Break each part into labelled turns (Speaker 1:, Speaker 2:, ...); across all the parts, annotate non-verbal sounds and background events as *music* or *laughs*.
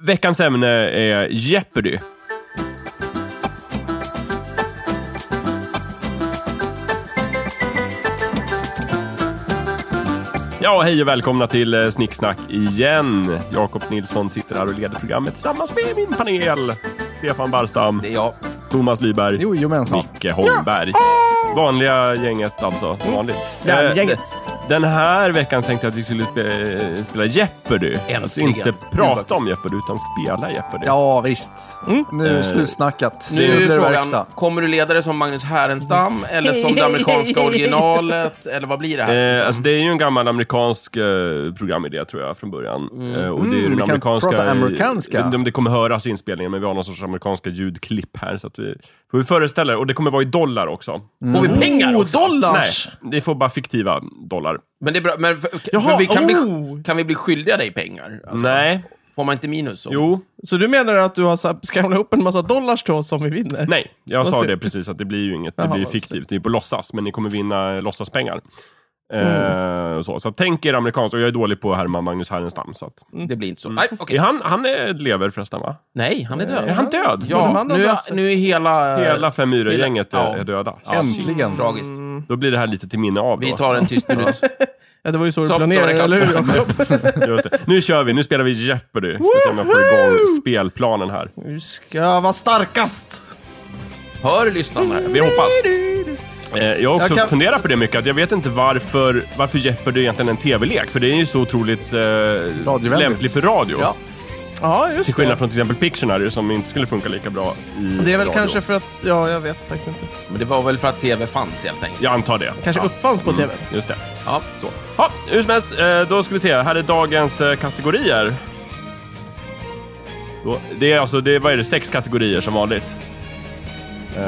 Speaker 1: Veckans ämne är Jeopardy. Ja, hej och välkomna till eh, Snicksnack igen. Jakob Nilsson sitter här och leder programmet tillsammans med min panel. Stefan Barstam,
Speaker 2: Det är jag.
Speaker 1: Thomas Lyberg,
Speaker 3: Jojomensan.
Speaker 1: Micke Holmberg. Vanliga gänget alltså. Vanligt.
Speaker 3: Ja,
Speaker 1: Eh,
Speaker 3: Mm. gänget.
Speaker 1: Den här veckan tänkte jag att vi skulle spela, eh, spela Jeopardy.
Speaker 2: Äntligen.
Speaker 1: Alltså inte
Speaker 2: Gud,
Speaker 1: prata
Speaker 2: vad
Speaker 1: om Jeopardy, utan spela Jeopardy.
Speaker 3: Ja, visst. Nu är
Speaker 1: Eh,
Speaker 3: det slutsnackat.
Speaker 2: Nu är
Speaker 3: det Mm.
Speaker 2: frågan,
Speaker 3: verkstad.
Speaker 2: kommer du leda det som Magnus Härenstam eller som det amerikanska
Speaker 3: *laughs*
Speaker 2: originalet? Eller vad blir det här?
Speaker 3: Liksom.
Speaker 1: Eh, alltså det är ju en gammal amerikansk eh, programidé tror jag från början. Eh, och det är
Speaker 3: Mm,
Speaker 1: ju
Speaker 3: vi
Speaker 1: den
Speaker 3: kan prata amerikanska.
Speaker 1: Jag vet inte om det kommer höras i inspelningen, men vi har någon sorts amerikanska ljudklipp här. Så att vi får vi föreställa er. Och det kommer vara i dollar också.
Speaker 2: Får vi pengar
Speaker 4: Oh,
Speaker 2: också?
Speaker 4: dollars!
Speaker 1: Nej, det får bara fiktiva dollar.
Speaker 2: Men det är bra. Men, för,
Speaker 4: Jaha,
Speaker 2: för vi kan, bli,
Speaker 4: oh.
Speaker 2: kan vi bli skyldiga dig pengar? Alltså,
Speaker 1: Nej,
Speaker 2: Får man inte minus? Så?
Speaker 1: jo,
Speaker 4: Så du menar att du har så här skramlat ihop en massa dollars till oss som vi vinner?
Speaker 1: Nej, jag
Speaker 4: Vad
Speaker 1: sa
Speaker 4: ser-
Speaker 1: det precis, att det blir ju inget. Det
Speaker 4: Jaha,
Speaker 1: blir ju
Speaker 4: vad ser-
Speaker 1: fiktivt. Det är på låtsas, men ni kommer vinna låtsaspengar.
Speaker 2: Mm.
Speaker 1: Eh, så. så tänk er amerikanskt, och jag är dålig på att härma Magnus Härenstam. Så att.
Speaker 2: Det blir inte så. Nej, okej.
Speaker 1: Är han, han är, lever förresten, va?
Speaker 2: Nej, han är död.
Speaker 1: Är han död?
Speaker 4: Men
Speaker 2: Ja,
Speaker 4: han har
Speaker 2: nu är,
Speaker 4: brassar.
Speaker 2: nu är hela...
Speaker 1: Hela Fem gänget är,
Speaker 2: Ja.
Speaker 1: är döda.
Speaker 3: Äntligen.
Speaker 2: Tragiskt.
Speaker 1: Då blir det här lite till minne av. Då.
Speaker 2: Vi tar en tyst minut.
Speaker 4: Ja, det var ju så du
Speaker 2: Topp,
Speaker 4: planerade,
Speaker 2: då är det
Speaker 4: eller hur?
Speaker 2: klart.
Speaker 4: Jakob?
Speaker 1: Just det. Nu kör vi, nu spelar vi Jeopardy. Ska se om jag får igång spelplanen här.
Speaker 4: *laughs* Du ska vara starkast!
Speaker 2: Hör lyssnarna här.
Speaker 1: Vi hoppas. Eh, Jag har också
Speaker 4: Jag kan-
Speaker 1: funderat på det mycket, att jag vet inte varför, varför Jeopardy egentligen är en tv-lek, för det är ju så otroligt eh,
Speaker 3: Radiovänligt.
Speaker 1: lämplig för radio.
Speaker 2: Ja.
Speaker 4: Ja, just
Speaker 1: Till
Speaker 4: det.
Speaker 1: skillnad från till exempel Pictionary som inte skulle funka lika bra i
Speaker 4: Det är väl
Speaker 1: radio.
Speaker 4: kanske för att, ja, jag vet faktiskt inte.
Speaker 2: Men det var väl för att tv fanns helt enkelt.
Speaker 1: Jag antar det.
Speaker 4: Kanske
Speaker 1: ja.
Speaker 4: uppfanns på tv.
Speaker 1: Just det.
Speaker 2: Ja, så.
Speaker 1: Ja, hur som helst, eh, då ska vi se. Här är dagens eh, kategorier. Då, det är alltså, det är, vad är det, sex kategorier som vanligt. Eh,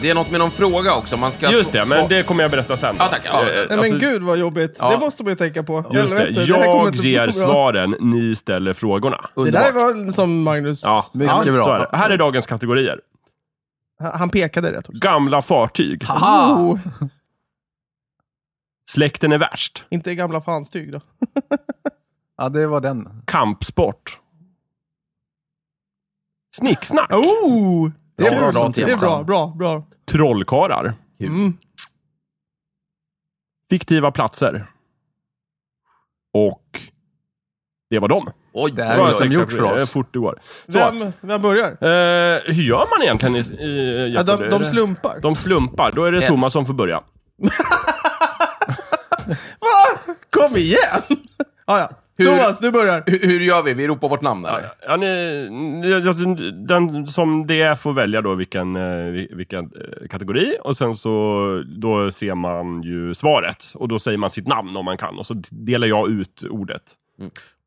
Speaker 2: Det är något med någon fråga också. Man ska
Speaker 1: just det,
Speaker 2: sva-
Speaker 1: men det kommer jag berätta sen.
Speaker 2: Ja, tack. Ja,
Speaker 1: Eh,
Speaker 2: ja.
Speaker 4: Nej
Speaker 1: alltså,
Speaker 4: men gud vad jobbigt.
Speaker 2: Ja.
Speaker 4: Det måste man ju tänka på.
Speaker 1: Just det,
Speaker 4: Helvete, här kommer
Speaker 1: jag
Speaker 4: inte gå
Speaker 1: ger
Speaker 4: bra.
Speaker 1: svaren, ni ställer frågorna.
Speaker 4: Det
Speaker 2: Underbart.
Speaker 4: där var som Magnus...
Speaker 1: Ja,
Speaker 3: Mycket
Speaker 1: så är
Speaker 3: bra.
Speaker 1: det. Här är dagens kategorier.
Speaker 4: Han han pekade rätt också.
Speaker 1: Gamla fartyg.
Speaker 3: Aha!
Speaker 1: Släkten är värst.
Speaker 4: Inte gamla fanstyg då.
Speaker 3: Ja, det var den.
Speaker 1: Kampsport. Snicksnack.
Speaker 4: Oh!
Speaker 2: Bra, bra,
Speaker 4: kul
Speaker 2: bra
Speaker 4: sånt. det är
Speaker 2: tips.
Speaker 4: bra, bra, bra.
Speaker 1: Trollkarlar.
Speaker 2: Kul.
Speaker 4: Mm.
Speaker 1: Fiktiva platser. Och det var dem.
Speaker 2: Oj,
Speaker 3: Det här
Speaker 2: oj,
Speaker 3: är
Speaker 2: oj.
Speaker 3: som gjort för oss.
Speaker 1: Eh, Fort det går. Så,
Speaker 4: Vem, vem börjar?
Speaker 1: eh, hur gör man egentligen i, i
Speaker 4: Ja, de,
Speaker 1: Jeopardy?
Speaker 4: de slumpar.
Speaker 1: de slumpar. Då är det
Speaker 2: Ett.
Speaker 1: Thomas som får börja.
Speaker 4: Va? Kom igen! *laughs* ah, ja.
Speaker 2: Hur-
Speaker 4: Thomas, du börjar.
Speaker 2: Hur, hur gör vi? Vi ropar vårt namn eller?
Speaker 1: Ja, ni, ni- alltså, den som det är får välja då vilken, eh, vilken eh, kategori och sen så då ser man ju svaret och då säger man sitt namn om man kan och så delar jag ut ordet.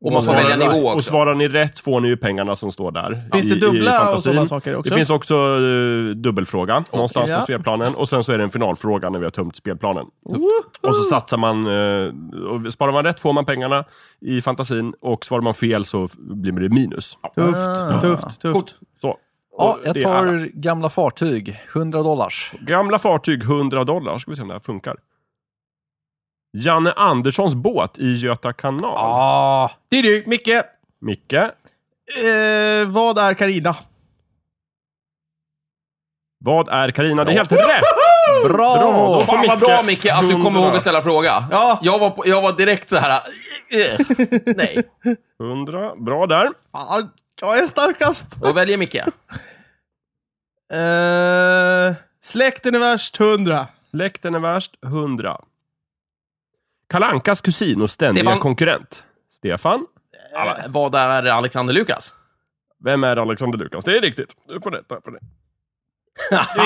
Speaker 2: Och man får
Speaker 1: Svarar-
Speaker 2: välja nivå
Speaker 1: Och
Speaker 2: också.
Speaker 1: svarar ni rätt får ni ju pengarna som står där.
Speaker 4: Finns det dubbla och
Speaker 1: fantasin.
Speaker 4: sådana saker också?
Speaker 1: Det finns också eh, dubbelfråga någonstans på
Speaker 4: ja.
Speaker 1: spelplanen. Och sen så är det en finalfråga när vi har tömt spelplanen. Och så satsar man, eh, och sparar man rätt får man pengarna i fantasin och svarar man fel så f- blir det minus.
Speaker 4: Tufft, tufft, tufft.
Speaker 1: Så.
Speaker 3: Ja,
Speaker 1: Och
Speaker 3: jag
Speaker 1: det
Speaker 3: tar
Speaker 1: är-
Speaker 3: gamla fartyg. 100 dollars.
Speaker 1: Gamla fartyg, 100 dollar. Ska vi se om det här funkar. Janne Anderssons båt i Göta kanal.
Speaker 3: Ah,
Speaker 4: Det är du, Micke.
Speaker 1: Micke,
Speaker 4: Eh, vad är Carina?
Speaker 1: vad är Karina? Det är helt rätt!
Speaker 3: bra!
Speaker 1: Bra, då får
Speaker 2: Fan vad
Speaker 1: Micke
Speaker 2: bra Micke att du
Speaker 1: 100.
Speaker 2: kommer ihåg att ställa fråga.
Speaker 4: Ja.
Speaker 2: Jag, var på, jag var direkt så här. eh, Nej,
Speaker 1: 100, bra där.
Speaker 4: Fan, jag är starkast.
Speaker 2: då väljer Micke.
Speaker 4: Eh, släkten är värst, 100.
Speaker 1: Släkten är värst, 100. Kalankas kusin och ständiga
Speaker 2: Stefan.
Speaker 1: konkurrent. Stefan.
Speaker 2: Eh, Vad är Alexander Lukas?
Speaker 1: Vem är Alexander Lukas? Det är riktigt. Du får rätta för det.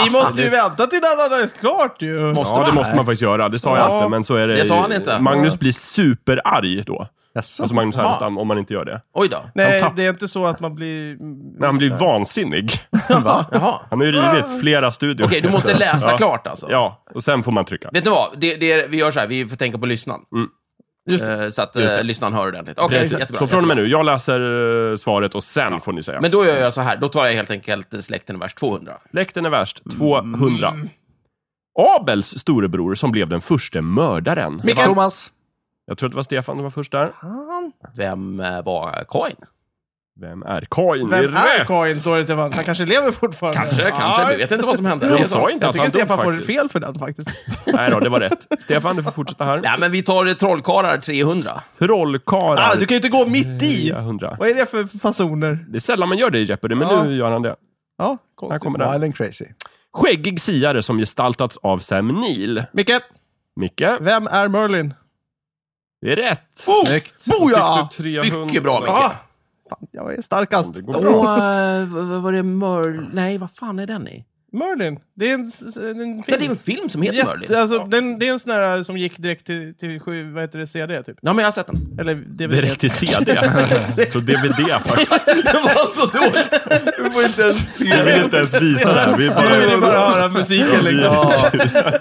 Speaker 4: Vi måste ju vänta till den andra är klart ju.
Speaker 2: Måste
Speaker 1: Ja, det
Speaker 2: man?
Speaker 1: måste man faktiskt göra. Det sa
Speaker 4: Ja.
Speaker 1: jag inte, men så är det.
Speaker 2: Det sa han
Speaker 1: ju-
Speaker 2: inte.
Speaker 1: Magnus blir superarg då.
Speaker 3: Jaså?
Speaker 1: Alltså Magnus
Speaker 2: Ja.
Speaker 1: Härenstam, om man inte gör det.
Speaker 2: Oj då.
Speaker 4: Nej,
Speaker 1: tapp-
Speaker 4: det är inte så att man blir...
Speaker 1: Men han blir vansinnig.
Speaker 3: Va?
Speaker 2: Jaha.
Speaker 1: Han har ju rivit flera studior.
Speaker 2: Okej, du måste läsa
Speaker 1: ja.
Speaker 2: klart alltså.
Speaker 1: Ja, och sen får man trycka.
Speaker 2: Vet ni vad? Det, det, vi gör så här, vi får tänka på lyssnaren.
Speaker 4: Just
Speaker 2: Eh, Så att eh, lyssnaren hör ordentligt. Okej,
Speaker 1: Precis.
Speaker 2: jättebra.
Speaker 1: så från och med nu, jag läser eh, svaret och sen får ni säga.
Speaker 2: Men då gör jag så här, då tar jag helt enkelt eh, släkten värst 200.
Speaker 1: Släkten är värst,
Speaker 2: Mm.
Speaker 1: 200. Abels storebror som blev den första mördaren.
Speaker 2: Micke.
Speaker 3: Thomas.
Speaker 1: Jag tror att det var Stefan som var först där.
Speaker 4: Fan.
Speaker 2: Vem eh, var Kain?
Speaker 1: Vem är Kain? Det
Speaker 4: Vem är
Speaker 1: rätt!
Speaker 4: Kain? Står det till man. Han kanske lever fortfarande.
Speaker 2: Kanske, kanske. Vi vet inte vad som hände. Det är
Speaker 1: De
Speaker 2: sant.
Speaker 1: sa inte
Speaker 4: Jag
Speaker 1: att han
Speaker 4: tycker
Speaker 1: dog
Speaker 4: Stefan får
Speaker 1: faktiskt.
Speaker 4: fel för den *laughs* faktiskt.
Speaker 1: Nej då, det var rätt. Stefan, du får fortsätta
Speaker 4: *laughs*
Speaker 1: här.
Speaker 2: Nej, men vi tar eh, Trollkarlar 300.
Speaker 1: Trollkarlar.
Speaker 4: Ah, du kan ju inte gå mitt i!
Speaker 1: 100.
Speaker 4: Vad är det för fasoner?
Speaker 1: Det är sällan man gör det i Jeopardy, men
Speaker 4: Ja.
Speaker 1: nu gör han det.
Speaker 4: Ja,
Speaker 1: Här
Speaker 4: konstigt.
Speaker 1: kommer den.
Speaker 3: Wild and crazy.
Speaker 1: Skäggig siare som gestaltats av Sam Neill.
Speaker 4: Micke,
Speaker 1: Micke,
Speaker 4: vem är Merlin?
Speaker 1: det är rätt.
Speaker 2: Oh!
Speaker 3: Snyggt.
Speaker 4: Boja!
Speaker 1: Fick du 300?
Speaker 2: Mycket bra, Micke.
Speaker 4: Ja! Fan, jag är starkast.
Speaker 1: Det går
Speaker 2: Och,
Speaker 1: bra.
Speaker 2: eh, vad var det Mör... Nej, vad fan är den i?
Speaker 4: Merlin, det är en, s- en film.
Speaker 2: Ja, det är en film som heter Merlin.
Speaker 4: Jätte, alltså, den, det är en sån där som gick direkt till, till sju, vad heter det, CD typ.
Speaker 2: Ja, men jag har sett *laughs* den.
Speaker 4: Eller DVD.
Speaker 1: Direkt till
Speaker 4: *laughs*
Speaker 1: CD. Så DVD faktiskt.
Speaker 2: Det var så dåligt!
Speaker 4: Du får inte ens se
Speaker 1: Vi vill inte ens visa det här. Vi är bara...
Speaker 4: Du vill ju bara höra musiken liksom.
Speaker 3: Ja,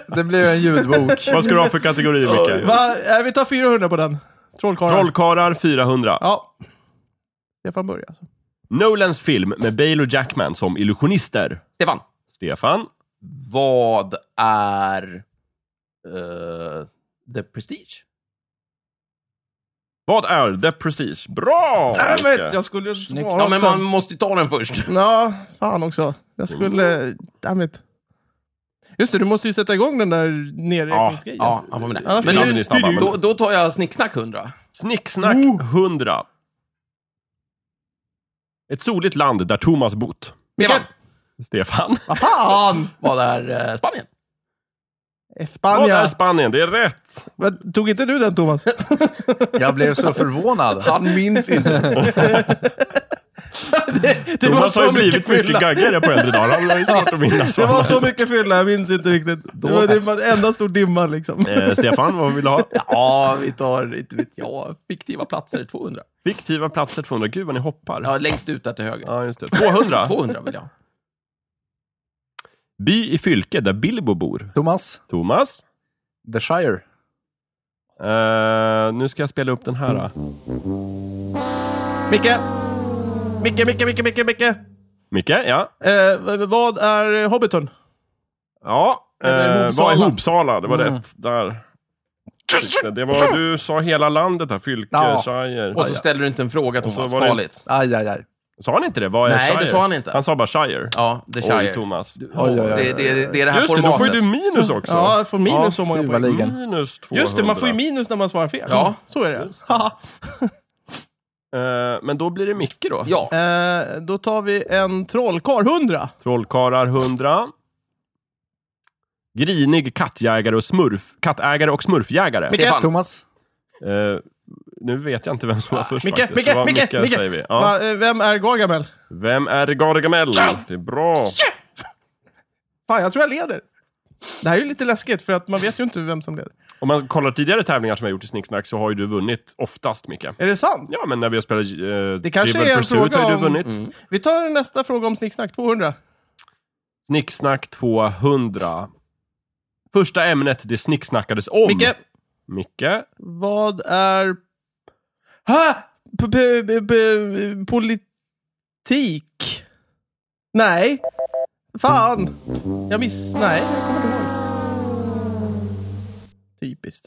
Speaker 3: *laughs* det blev en ljudbok.
Speaker 1: Vad ska du ha för kategori, Micke?
Speaker 4: Va? Eh, Vi tar 400 på den. Trollkarlen.
Speaker 1: Trollkarlar 400.
Speaker 4: Ja. Stefan börjar. Alltså.
Speaker 1: Nolans film med Bale och Jackman som illusionister.
Speaker 2: Stefan,
Speaker 1: Stefan,
Speaker 2: vad är eh, The Prestige?
Speaker 1: vad är The Prestige? Bra!
Speaker 4: Äh,
Speaker 1: Micke.
Speaker 4: men, jag skulle ju svara.
Speaker 2: Ja, men man
Speaker 4: fan.
Speaker 2: måste ju ta den först.
Speaker 4: Ja, fan också. Jag skulle... Damn it. Just det, du måste ju sätta igång den där nedräkningsgrejen.
Speaker 2: Ja, han får med det.
Speaker 4: Annars
Speaker 2: Men
Speaker 1: blir det snabbare,
Speaker 2: nu,
Speaker 1: men-
Speaker 2: då, då tar jag Snicksnack 100.
Speaker 1: Snicksnack
Speaker 4: Oh!
Speaker 1: 100. Ett soligt land där Thomas bott.
Speaker 2: Stefan,
Speaker 1: Stefan.
Speaker 4: Vad fan!
Speaker 2: vad är eh, *laughs* Spanien?
Speaker 1: Vad
Speaker 4: Spanien.
Speaker 1: är Spanien? Det är rätt.
Speaker 4: Vad- Tog inte du den Thomas?
Speaker 3: Jag blev så förvånad. Han minns inte.
Speaker 4: *laughs* Det
Speaker 1: Thomas har ju blivit mycket gaggigare på äldre dagar. Han har
Speaker 4: *laughs*
Speaker 1: ju svårt att minnas.
Speaker 4: Det var så mycket fylla, jag minns inte riktigt. Det var dimma, enda stor dimma liksom.
Speaker 1: Eh, Stefan, vad vill du
Speaker 4: *laughs*
Speaker 1: ha?
Speaker 2: Ja, vi tar, inte vet jag, fiktiva platser 200.
Speaker 1: Fiktiva platser 200. Gud vad ni hoppar.
Speaker 2: Ja, längst ut där till höger.
Speaker 1: Ja, just det. 200.
Speaker 2: 200 vill jag.
Speaker 1: By i fylke där Bilbo bor.
Speaker 3: Thomas,
Speaker 1: Thomas.
Speaker 3: The Shire.
Speaker 1: Eh, nu ska jag spela upp den här. då.
Speaker 4: Micke! Micke, Micke, Micke, Micke, Micke!
Speaker 1: Micke, ja.
Speaker 4: Eh, v- vad är Hobbiton?
Speaker 1: Ja,
Speaker 4: Eller
Speaker 1: eh,
Speaker 4: Hopsala.
Speaker 1: vad är Hopsala? Det var
Speaker 3: Mm.
Speaker 1: rätt. Där. Det var, du sa hela landet här, fylke,
Speaker 3: Ja.
Speaker 1: shire.
Speaker 2: Och så ställer du inte en fråga,
Speaker 1: så
Speaker 2: Thomas.
Speaker 1: var det-
Speaker 2: Farligt.
Speaker 3: Aj, aj, aj.
Speaker 1: Sa han inte det? Vad är
Speaker 2: Nej,
Speaker 1: shire?
Speaker 2: det sa han inte.
Speaker 1: Han sa bara shire.
Speaker 2: Ja, The
Speaker 1: Oj,
Speaker 2: Shire.
Speaker 1: Thomas.
Speaker 3: Oj, oj,
Speaker 2: Det,
Speaker 3: oj.
Speaker 2: det, det är det här
Speaker 1: Just det,
Speaker 2: formatet.
Speaker 1: då får ju du minus också.
Speaker 4: Ja, jag får minus
Speaker 3: Ja,
Speaker 4: så många
Speaker 3: gud, vad
Speaker 4: poäng.
Speaker 3: lätt. ligan.
Speaker 1: Minus 200.
Speaker 4: Just det, man får ju minus när man svarar fel.
Speaker 2: Ja.
Speaker 4: Så är det.
Speaker 1: Just
Speaker 4: Haha.
Speaker 1: Eh, men då blir det Micke då.
Speaker 2: Ja,
Speaker 4: Eh, då tar vi en trollkarl 100.
Speaker 1: Trollkarlar 100. Grinig kattjägare och smurf. Kattägare och smurfjägare.
Speaker 4: Micke.
Speaker 2: Stefan.
Speaker 3: Thomas,
Speaker 1: Eh, nu vet jag inte vem som var först
Speaker 4: Micke,
Speaker 1: faktiskt.
Speaker 4: Micke,
Speaker 1: Det var
Speaker 4: Micke,
Speaker 1: Micke,
Speaker 4: Micke.
Speaker 1: säger vi. Ja.
Speaker 4: Va, eh, vem är Gargamel?
Speaker 1: Vem är Gargamel? Det är bra.
Speaker 4: Fan, jag tror jag leder. Det här är ju lite läskigt, för att man vet ju inte vem som leder.
Speaker 1: Om man kollar tidigare tävlingar som jag gjort i Snicksnack så har ju du vunnit oftast, Micke.
Speaker 4: Är det sant?
Speaker 1: Ja, men när vi har spelat eh,
Speaker 4: Det kanske
Speaker 1: Trivial
Speaker 4: är en
Speaker 1: Pursuit
Speaker 4: fråga
Speaker 1: har ju du
Speaker 4: om- Mm.
Speaker 1: vunnit.
Speaker 4: Vi tar nästa fråga om Snicksnack 200.
Speaker 1: Snicksnack 200. Första ämnet det snicksnackades om.
Speaker 4: Micke,
Speaker 1: Micke.
Speaker 4: vad är... Ha! P- p- p- p- Politik? Nej. Fan! Jag miss... Nej, jag kommer inte ihåg. Typiskt.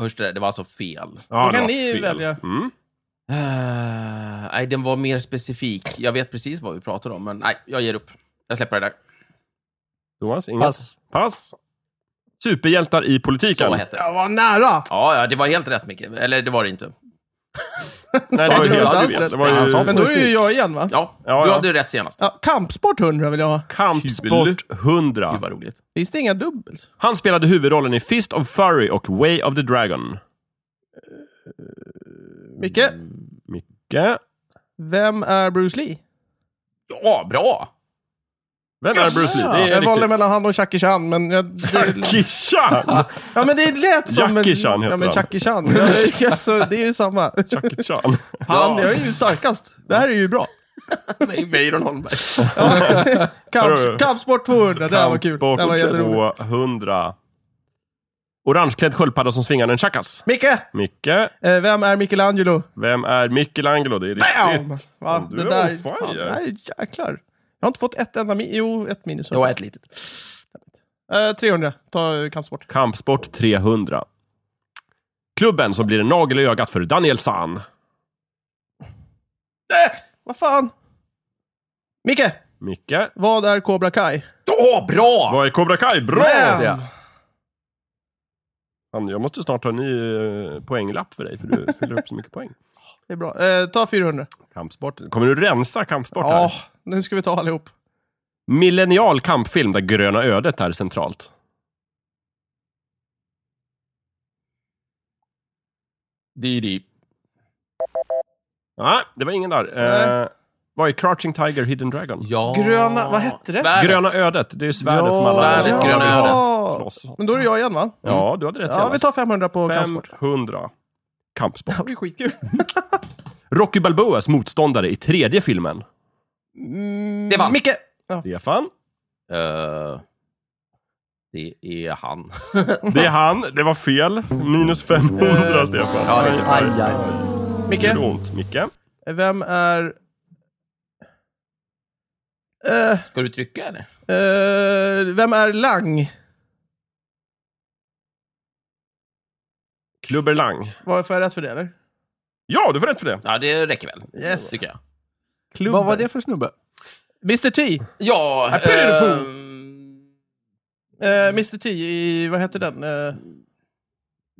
Speaker 2: hörs det? där? Det var alltså fel.
Speaker 1: Ja,
Speaker 4: Då
Speaker 1: det
Speaker 4: kan
Speaker 1: var
Speaker 4: ni välja.
Speaker 1: Mm.
Speaker 2: Eh, nej, den var mer specifik. Jag vet precis vad vi pratade om, men nej, jag ger upp. Jag släpper det där.
Speaker 1: Thomas, inget? Pass.
Speaker 3: pass.
Speaker 1: Superhjältar i politiken.
Speaker 2: Så hette det.
Speaker 4: Jag var nära!
Speaker 2: Ja, ja, det var helt rätt, Micke. Eller det var det inte.
Speaker 1: Nej, det var ju
Speaker 4: Ja, det var
Speaker 1: helt
Speaker 4: alls
Speaker 1: fel.
Speaker 4: rätt.
Speaker 1: Det var ju...
Speaker 3: Ja, han sa
Speaker 4: Men då är det ju jag igen, va?
Speaker 2: Ja,
Speaker 1: Ja,
Speaker 2: du
Speaker 1: ja.
Speaker 2: hade ju rätt senast.
Speaker 4: Ja, kampsport 100 vill jag ha.
Speaker 1: Kampsport
Speaker 2: Gud,
Speaker 1: 100.
Speaker 2: vad roligt.
Speaker 4: Finns det inga dubbels?
Speaker 1: Han spelade huvudrollen i Fist of Fury och Way of the Dragon.
Speaker 4: Micke,
Speaker 1: Mm. Micke.
Speaker 4: vem är Bruce Lee?
Speaker 2: Ja, bra!
Speaker 1: Vem är Bruce Lee? Det är
Speaker 4: Jag valde
Speaker 1: riktigt.
Speaker 4: mellan han och Jackie Chan, men... Jag, det,
Speaker 1: Jackie Chan!
Speaker 4: ja, men det lät som... en-
Speaker 1: Jackie Chan heter
Speaker 4: Ja, men
Speaker 1: han.
Speaker 4: Jackie Chan. Ja, alltså, det är *laughs* ju samma.
Speaker 1: Jackie Chan.
Speaker 4: Han,
Speaker 2: Ja.
Speaker 4: jag är ju starkast. Det här är ju bra.
Speaker 2: Nej, Weiron Holmberg.
Speaker 1: Hörru.
Speaker 4: Kamp, kampsport 200, det här var kul. Det här var
Speaker 1: Kampsport
Speaker 4: jätteroligt.
Speaker 1: 200. Orangeklädd sköldpadda som svingar en chackas.
Speaker 4: Micke,
Speaker 1: Micke.
Speaker 4: eh, vem är Michelangelo?
Speaker 1: Vem är Michelangelo? Det är
Speaker 4: Bam!
Speaker 1: riktigt.
Speaker 4: Va?
Speaker 1: Du
Speaker 4: det
Speaker 1: är
Speaker 4: där,
Speaker 1: on fire.
Speaker 4: fan, nej, jäklar. Jag har inte fått ett enda minus. Jo, ett minus.
Speaker 2: Jag var ett litet.
Speaker 4: Eh, 300, ta eh, kampsport.
Speaker 1: Kampsport 300. Klubben som blir en nagel i ögat för Daniel San.
Speaker 4: Vad fan? Micke,
Speaker 1: Micke.
Speaker 4: vad är Cobra Kai?
Speaker 2: Åh, bra!
Speaker 1: Vad är Cobra Kai? Bra!
Speaker 4: Bam!
Speaker 3: Ja.
Speaker 1: Fan, jag måste snart ha en ny eh, poänglapp för dig, för du fyller upp så mycket poäng.
Speaker 4: Det är bra. Eh, ta 400.
Speaker 1: Kampsport. Kommer du rensa kampsport
Speaker 4: Ja,
Speaker 1: här?
Speaker 4: nu ska vi ta allihop.
Speaker 1: Millennial kampfilm där gröna ödet är centralt.
Speaker 2: DD.
Speaker 1: Nej, det var ingen där. Eh,
Speaker 4: Nej.
Speaker 1: vad är Crouching Tiger, Hidden Dragon?
Speaker 2: Ja.
Speaker 4: Gröna- vad hette det?
Speaker 2: Svärdet.
Speaker 1: Gröna ödet, det är ju svärdet som alla...
Speaker 2: Svärdet,
Speaker 1: alla
Speaker 2: gröna
Speaker 1: vill
Speaker 4: ödet.
Speaker 1: slåss.
Speaker 4: Men då är det jag igen va?
Speaker 1: Ja, du hade rätt
Speaker 4: Mm. Ja, vi tar 500 på kampsport. *laughs*
Speaker 1: 500. Kampsport.
Speaker 4: Det blir skitkul.
Speaker 1: Rocky Balboas motståndare i tredje filmen.
Speaker 4: Mm,
Speaker 2: Det vann.
Speaker 4: Micke! Ja.
Speaker 1: Stefan.
Speaker 2: Eh, det är han.
Speaker 1: Det är han, det var fel. Minus 500 Stefan.
Speaker 2: Ja, det är typ-
Speaker 1: Aj, aj, aj. Det
Speaker 4: Micke,
Speaker 1: gjorde ont, Micke.
Speaker 4: vem är... Eh,
Speaker 2: Ska du trycka eller?
Speaker 4: eh, vem är Lang?
Speaker 1: Klubber Lang.
Speaker 4: Vad Får jag rätt för det eller?
Speaker 1: Ja, du får rätt för det.
Speaker 2: Ja, det räcker väl.
Speaker 4: Yes.
Speaker 2: Tycker jag.
Speaker 4: Klubben.
Speaker 3: Vad var det för snubbe?
Speaker 4: Mr T.
Speaker 2: Ja,
Speaker 4: A beautiful.
Speaker 2: ehm,
Speaker 4: Eh, Mr T i, vad heter den? Eh,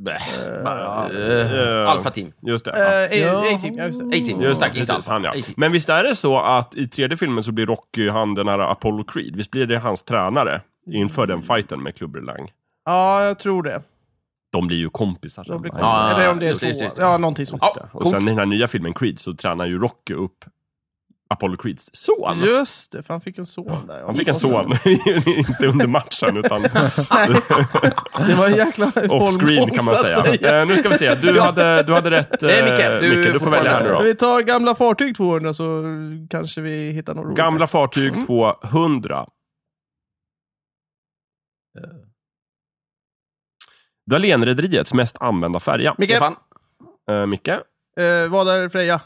Speaker 2: bäh,
Speaker 4: eh,
Speaker 2: eh,
Speaker 1: eh,
Speaker 2: Alpha Team.
Speaker 1: Just det. ja.
Speaker 4: Eh,
Speaker 3: Ja.
Speaker 4: A- A-Team, ja just det.
Speaker 2: A-Team.
Speaker 1: Just det,
Speaker 2: Tack, inte
Speaker 1: precis,
Speaker 2: Alpha.
Speaker 1: han, ja.
Speaker 2: A-Team.
Speaker 1: Men visst är det så att i tredje filmen så blir Rocky han den här Apollo Creed. Visst blir det hans tränare inför den fighten med Klubber Lang?
Speaker 4: Ja, jag tror det.
Speaker 1: De blir ju kompisar. sen,
Speaker 4: De blir
Speaker 1: va?
Speaker 2: Ja,
Speaker 4: Eller om det är
Speaker 2: just det, just det,
Speaker 4: två.
Speaker 2: just det.
Speaker 4: Ja, någonting sånt.
Speaker 2: Ja,
Speaker 1: Och sen
Speaker 2: coolt.
Speaker 1: i den här nya filmen Creed så tränar ju Rocky upp Apollo Creeds son.
Speaker 4: Just det, för han fick en son där.
Speaker 1: Han fick en son, *laughs* inte under matchen utan
Speaker 4: Det var en
Speaker 1: *laughs*
Speaker 4: jäkla
Speaker 1: off-screen
Speaker 4: bollgång,
Speaker 1: kan man
Speaker 4: så att
Speaker 1: säga. Eh, nu ska vi se, du hade, du hade rätt eh,
Speaker 2: Nej, Micke, du
Speaker 1: Du får
Speaker 2: får
Speaker 1: välja här nu då.
Speaker 2: fortfarande.
Speaker 4: Vi tar gamla fartyg 200 så kanske vi hittar något roligt.
Speaker 1: Gamla fartyg 200. Dahlénrederiets mest använda färja.
Speaker 4: Micke,
Speaker 2: Stefan?
Speaker 1: Eh, Micke,
Speaker 4: eh, vad är Freja?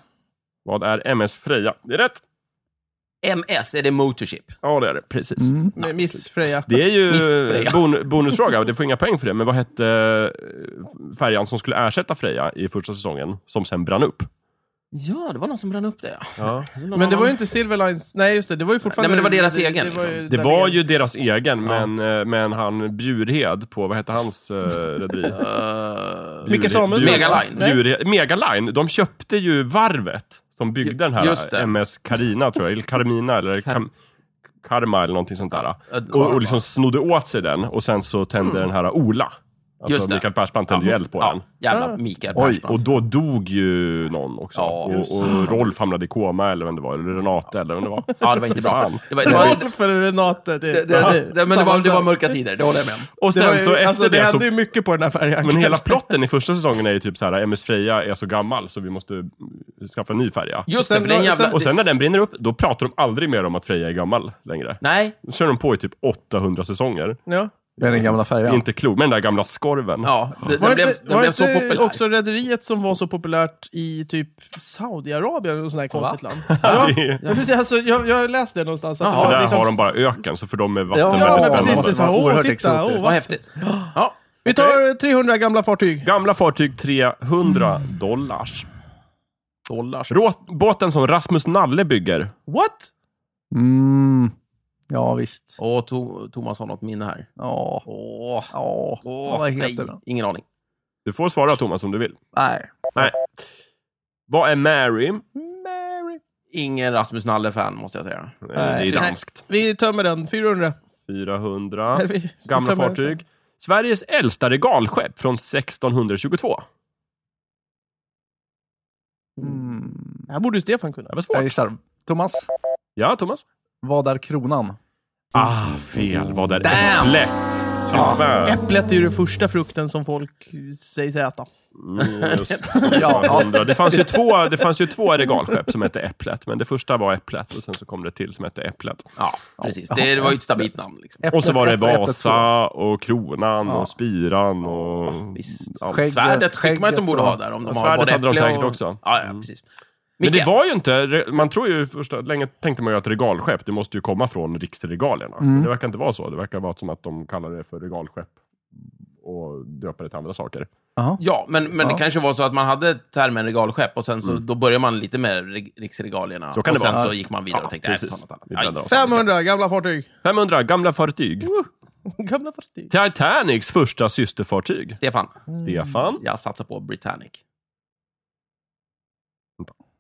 Speaker 1: vad är MS Freja? Det är rätt.
Speaker 2: MS, är det Motorship?
Speaker 1: Ja, det är det. Precis.
Speaker 4: Med Miss Freja.
Speaker 1: Det är ju
Speaker 2: Missfreja.
Speaker 1: bon, bonusfråga, det får inga poäng för det. Men vad hette eh, färjan som skulle ersätta Freja i första säsongen, som sen brann upp?
Speaker 2: Ja, det var någon som brann upp det. ja.
Speaker 1: Ja.
Speaker 2: Någon
Speaker 4: Men det
Speaker 2: annan-
Speaker 4: var ju inte Silver Lines. Nej, just det. Det var ju fortfarande...
Speaker 2: Nej, men det var deras egen. liksom.
Speaker 1: Det var ju
Speaker 4: Dahléns.
Speaker 1: deras egen, men, eh, men han Bjurhed på, vad hette hans eh, rederi?
Speaker 2: Eh,
Speaker 4: Micke
Speaker 1: Bjurhed-
Speaker 4: Samuelsson?
Speaker 1: Bjurhed-
Speaker 2: Megaline.
Speaker 4: Nej.
Speaker 1: Bjurhed- Megaline, de köpte ju varvet som byggde den
Speaker 2: Just
Speaker 1: här
Speaker 2: det.
Speaker 1: MS Carina, tror jag, eller Carmina, eller Cam- Karma eller någonting sånt där.
Speaker 2: eh,
Speaker 1: Och, och liksom snodde åt sig den och sen så tände den här Ola. Alltså
Speaker 2: Mm. Just det.
Speaker 1: Mikael Persbrandt tände ju eld på den.
Speaker 2: Ja, jävla
Speaker 4: Ah.
Speaker 2: Mikael
Speaker 3: Oj,
Speaker 1: Och
Speaker 2: Persbrandt.
Speaker 1: då dog ju någon också.
Speaker 2: Ja, just
Speaker 1: och, och Rolf hamnade i koma eller vem det var, eller Renate eller vem det var.
Speaker 2: Ja, det var inte bra. Det var, det var, det,
Speaker 4: Rolf eller Renate. Det,
Speaker 2: det, det, men det var, det var mörka tider, det håller jag med om.
Speaker 1: Och sen
Speaker 4: Det var ju-
Speaker 1: så efter
Speaker 4: alltså, det,
Speaker 1: det så...
Speaker 4: hände ju mycket på den här färjan.
Speaker 1: Men hela plotten i första säsongen är ju typ så här, MS Freja är så gammal så vi måste mm, skaffa en ny färja.
Speaker 2: Just
Speaker 4: sen
Speaker 2: det, för den
Speaker 4: var-
Speaker 2: jävla...
Speaker 4: sen-
Speaker 1: Och sen när den brinner upp, då pratar de aldrig mer om att Freja är gammal längre.
Speaker 2: Nej.
Speaker 1: Nu kör de på i typ 800 säsonger.
Speaker 4: Ja.
Speaker 3: Med den gamla färjan.
Speaker 1: Inte klokt, med den där gamla skorven. *laughs*
Speaker 2: Ja, det-
Speaker 4: Var
Speaker 2: den blev,
Speaker 4: inte,
Speaker 2: den
Speaker 4: var
Speaker 2: blev så
Speaker 4: inte
Speaker 2: populär.
Speaker 4: också rederiet som var så populärt i typ Saudiarabien eller något sånt där konstigt land?
Speaker 1: Det är-
Speaker 4: Ja, men det- Alltså, jag, jag läste det någonstans. Att
Speaker 2: Jaha.
Speaker 4: det var
Speaker 1: där
Speaker 4: liksom-
Speaker 1: har de bara öken, så för dem är vatten
Speaker 3: Ja,
Speaker 4: Ja,
Speaker 1: väldigt
Speaker 4: men precis. Det
Speaker 1: spännande.
Speaker 4: är så här, åh,
Speaker 3: Oerhört
Speaker 4: titta,
Speaker 3: exotiskt.
Speaker 4: åh,
Speaker 2: Vad
Speaker 4: vad
Speaker 2: häftigt. Ja.
Speaker 4: Vi tar 300 gamla fartyg.
Speaker 1: Gamla fartyg 300 dollars.
Speaker 2: Dollars.
Speaker 1: Rå- båten som Rasmus Nalle bygger.
Speaker 4: What?
Speaker 3: Mm. Ja, visst.
Speaker 2: Åh, to, Thomas har något minne här.
Speaker 3: Ja.
Speaker 2: Åh,
Speaker 3: Ja.
Speaker 2: åh,
Speaker 3: Vad
Speaker 2: nej,
Speaker 3: heter den?
Speaker 2: ingen aning.
Speaker 1: Du får svara Thomas om du vill.
Speaker 3: Nej.
Speaker 1: Vad är Mary? Eh,
Speaker 4: Mary.
Speaker 2: Ingen Rasmus Nalle-fan, måste jag säga.
Speaker 1: Eh, Det är
Speaker 3: Nej.
Speaker 1: danskt.
Speaker 4: Vi tömmer den. 400.
Speaker 1: 400.
Speaker 4: Eller vi- vi
Speaker 1: Gamla
Speaker 4: tömmer den.
Speaker 1: fartyg. Sveriges äldsta regalskepp från 1622.
Speaker 3: Mm.
Speaker 4: Det här borde ju Stefan kunna.
Speaker 1: Det var
Speaker 3: Jag
Speaker 1: svårt.
Speaker 3: gissar. Thomas,
Speaker 1: Ja, Thomas?
Speaker 3: vad är kronan?
Speaker 1: Ah, fel. Vad är
Speaker 2: Damn!
Speaker 1: äpplet? Tyvärr.
Speaker 4: Äpplet är ju den första frukten som folk sägs äta.
Speaker 1: Minus
Speaker 3: *laughs* Ja.
Speaker 1: 400. Det fanns ju två, det fanns ju två regalskepp som hette Äpplet, men det första var Äpplet och sen så kom det till som hette Äpplet.
Speaker 2: Ja, precis. Det, det var ju ett stabilt namn. Liksom.
Speaker 1: Och så var det
Speaker 3: Äpplet, äpplet, äpplet,
Speaker 1: Vasa och Kronan
Speaker 3: Ja.
Speaker 1: och Spiran och...
Speaker 2: Visst.
Speaker 1: Ja,
Speaker 3: Skägg.
Speaker 2: Svärdet tycker man att de
Speaker 3: skägget
Speaker 2: borde
Speaker 3: och-
Speaker 2: ha där. Om de
Speaker 1: och
Speaker 2: har
Speaker 1: svärdet
Speaker 2: både
Speaker 1: hade de
Speaker 2: äpple
Speaker 1: säkert
Speaker 2: och...
Speaker 1: också. Mm.
Speaker 2: Ja, ja precis.
Speaker 1: Men
Speaker 2: Micke,
Speaker 1: det var ju inte, man tror ju första, länge tänkte man ju att regalskepp, det måste ju komma från riksregalierna.
Speaker 2: Mm.
Speaker 1: Men det verkar inte vara så. Det verkar vara som att de kallar det för regalskepp och döper det till andra saker.
Speaker 3: Jaha.
Speaker 2: Ja, men, men det
Speaker 3: Ja.
Speaker 2: kanske var så att man hade termen regalskepp och sen så då började man lite med reg- riksregalierna.
Speaker 1: Mm. Så kan
Speaker 2: och
Speaker 1: det
Speaker 2: sen
Speaker 1: vara.
Speaker 2: så gick man vidare
Speaker 1: Ja,
Speaker 2: och tänkte, nej, vi tar
Speaker 1: precis.
Speaker 2: något annat.
Speaker 1: Vi bläddrar
Speaker 2: Aj,
Speaker 1: oss.
Speaker 2: fan.
Speaker 4: 500 gamla fartyg.
Speaker 1: 500 gamla fartyg.
Speaker 4: gamla fartyg.
Speaker 1: Titanics första systerfartyg.
Speaker 2: Stefan,
Speaker 1: Stefan.
Speaker 2: jag satsar på Britannic.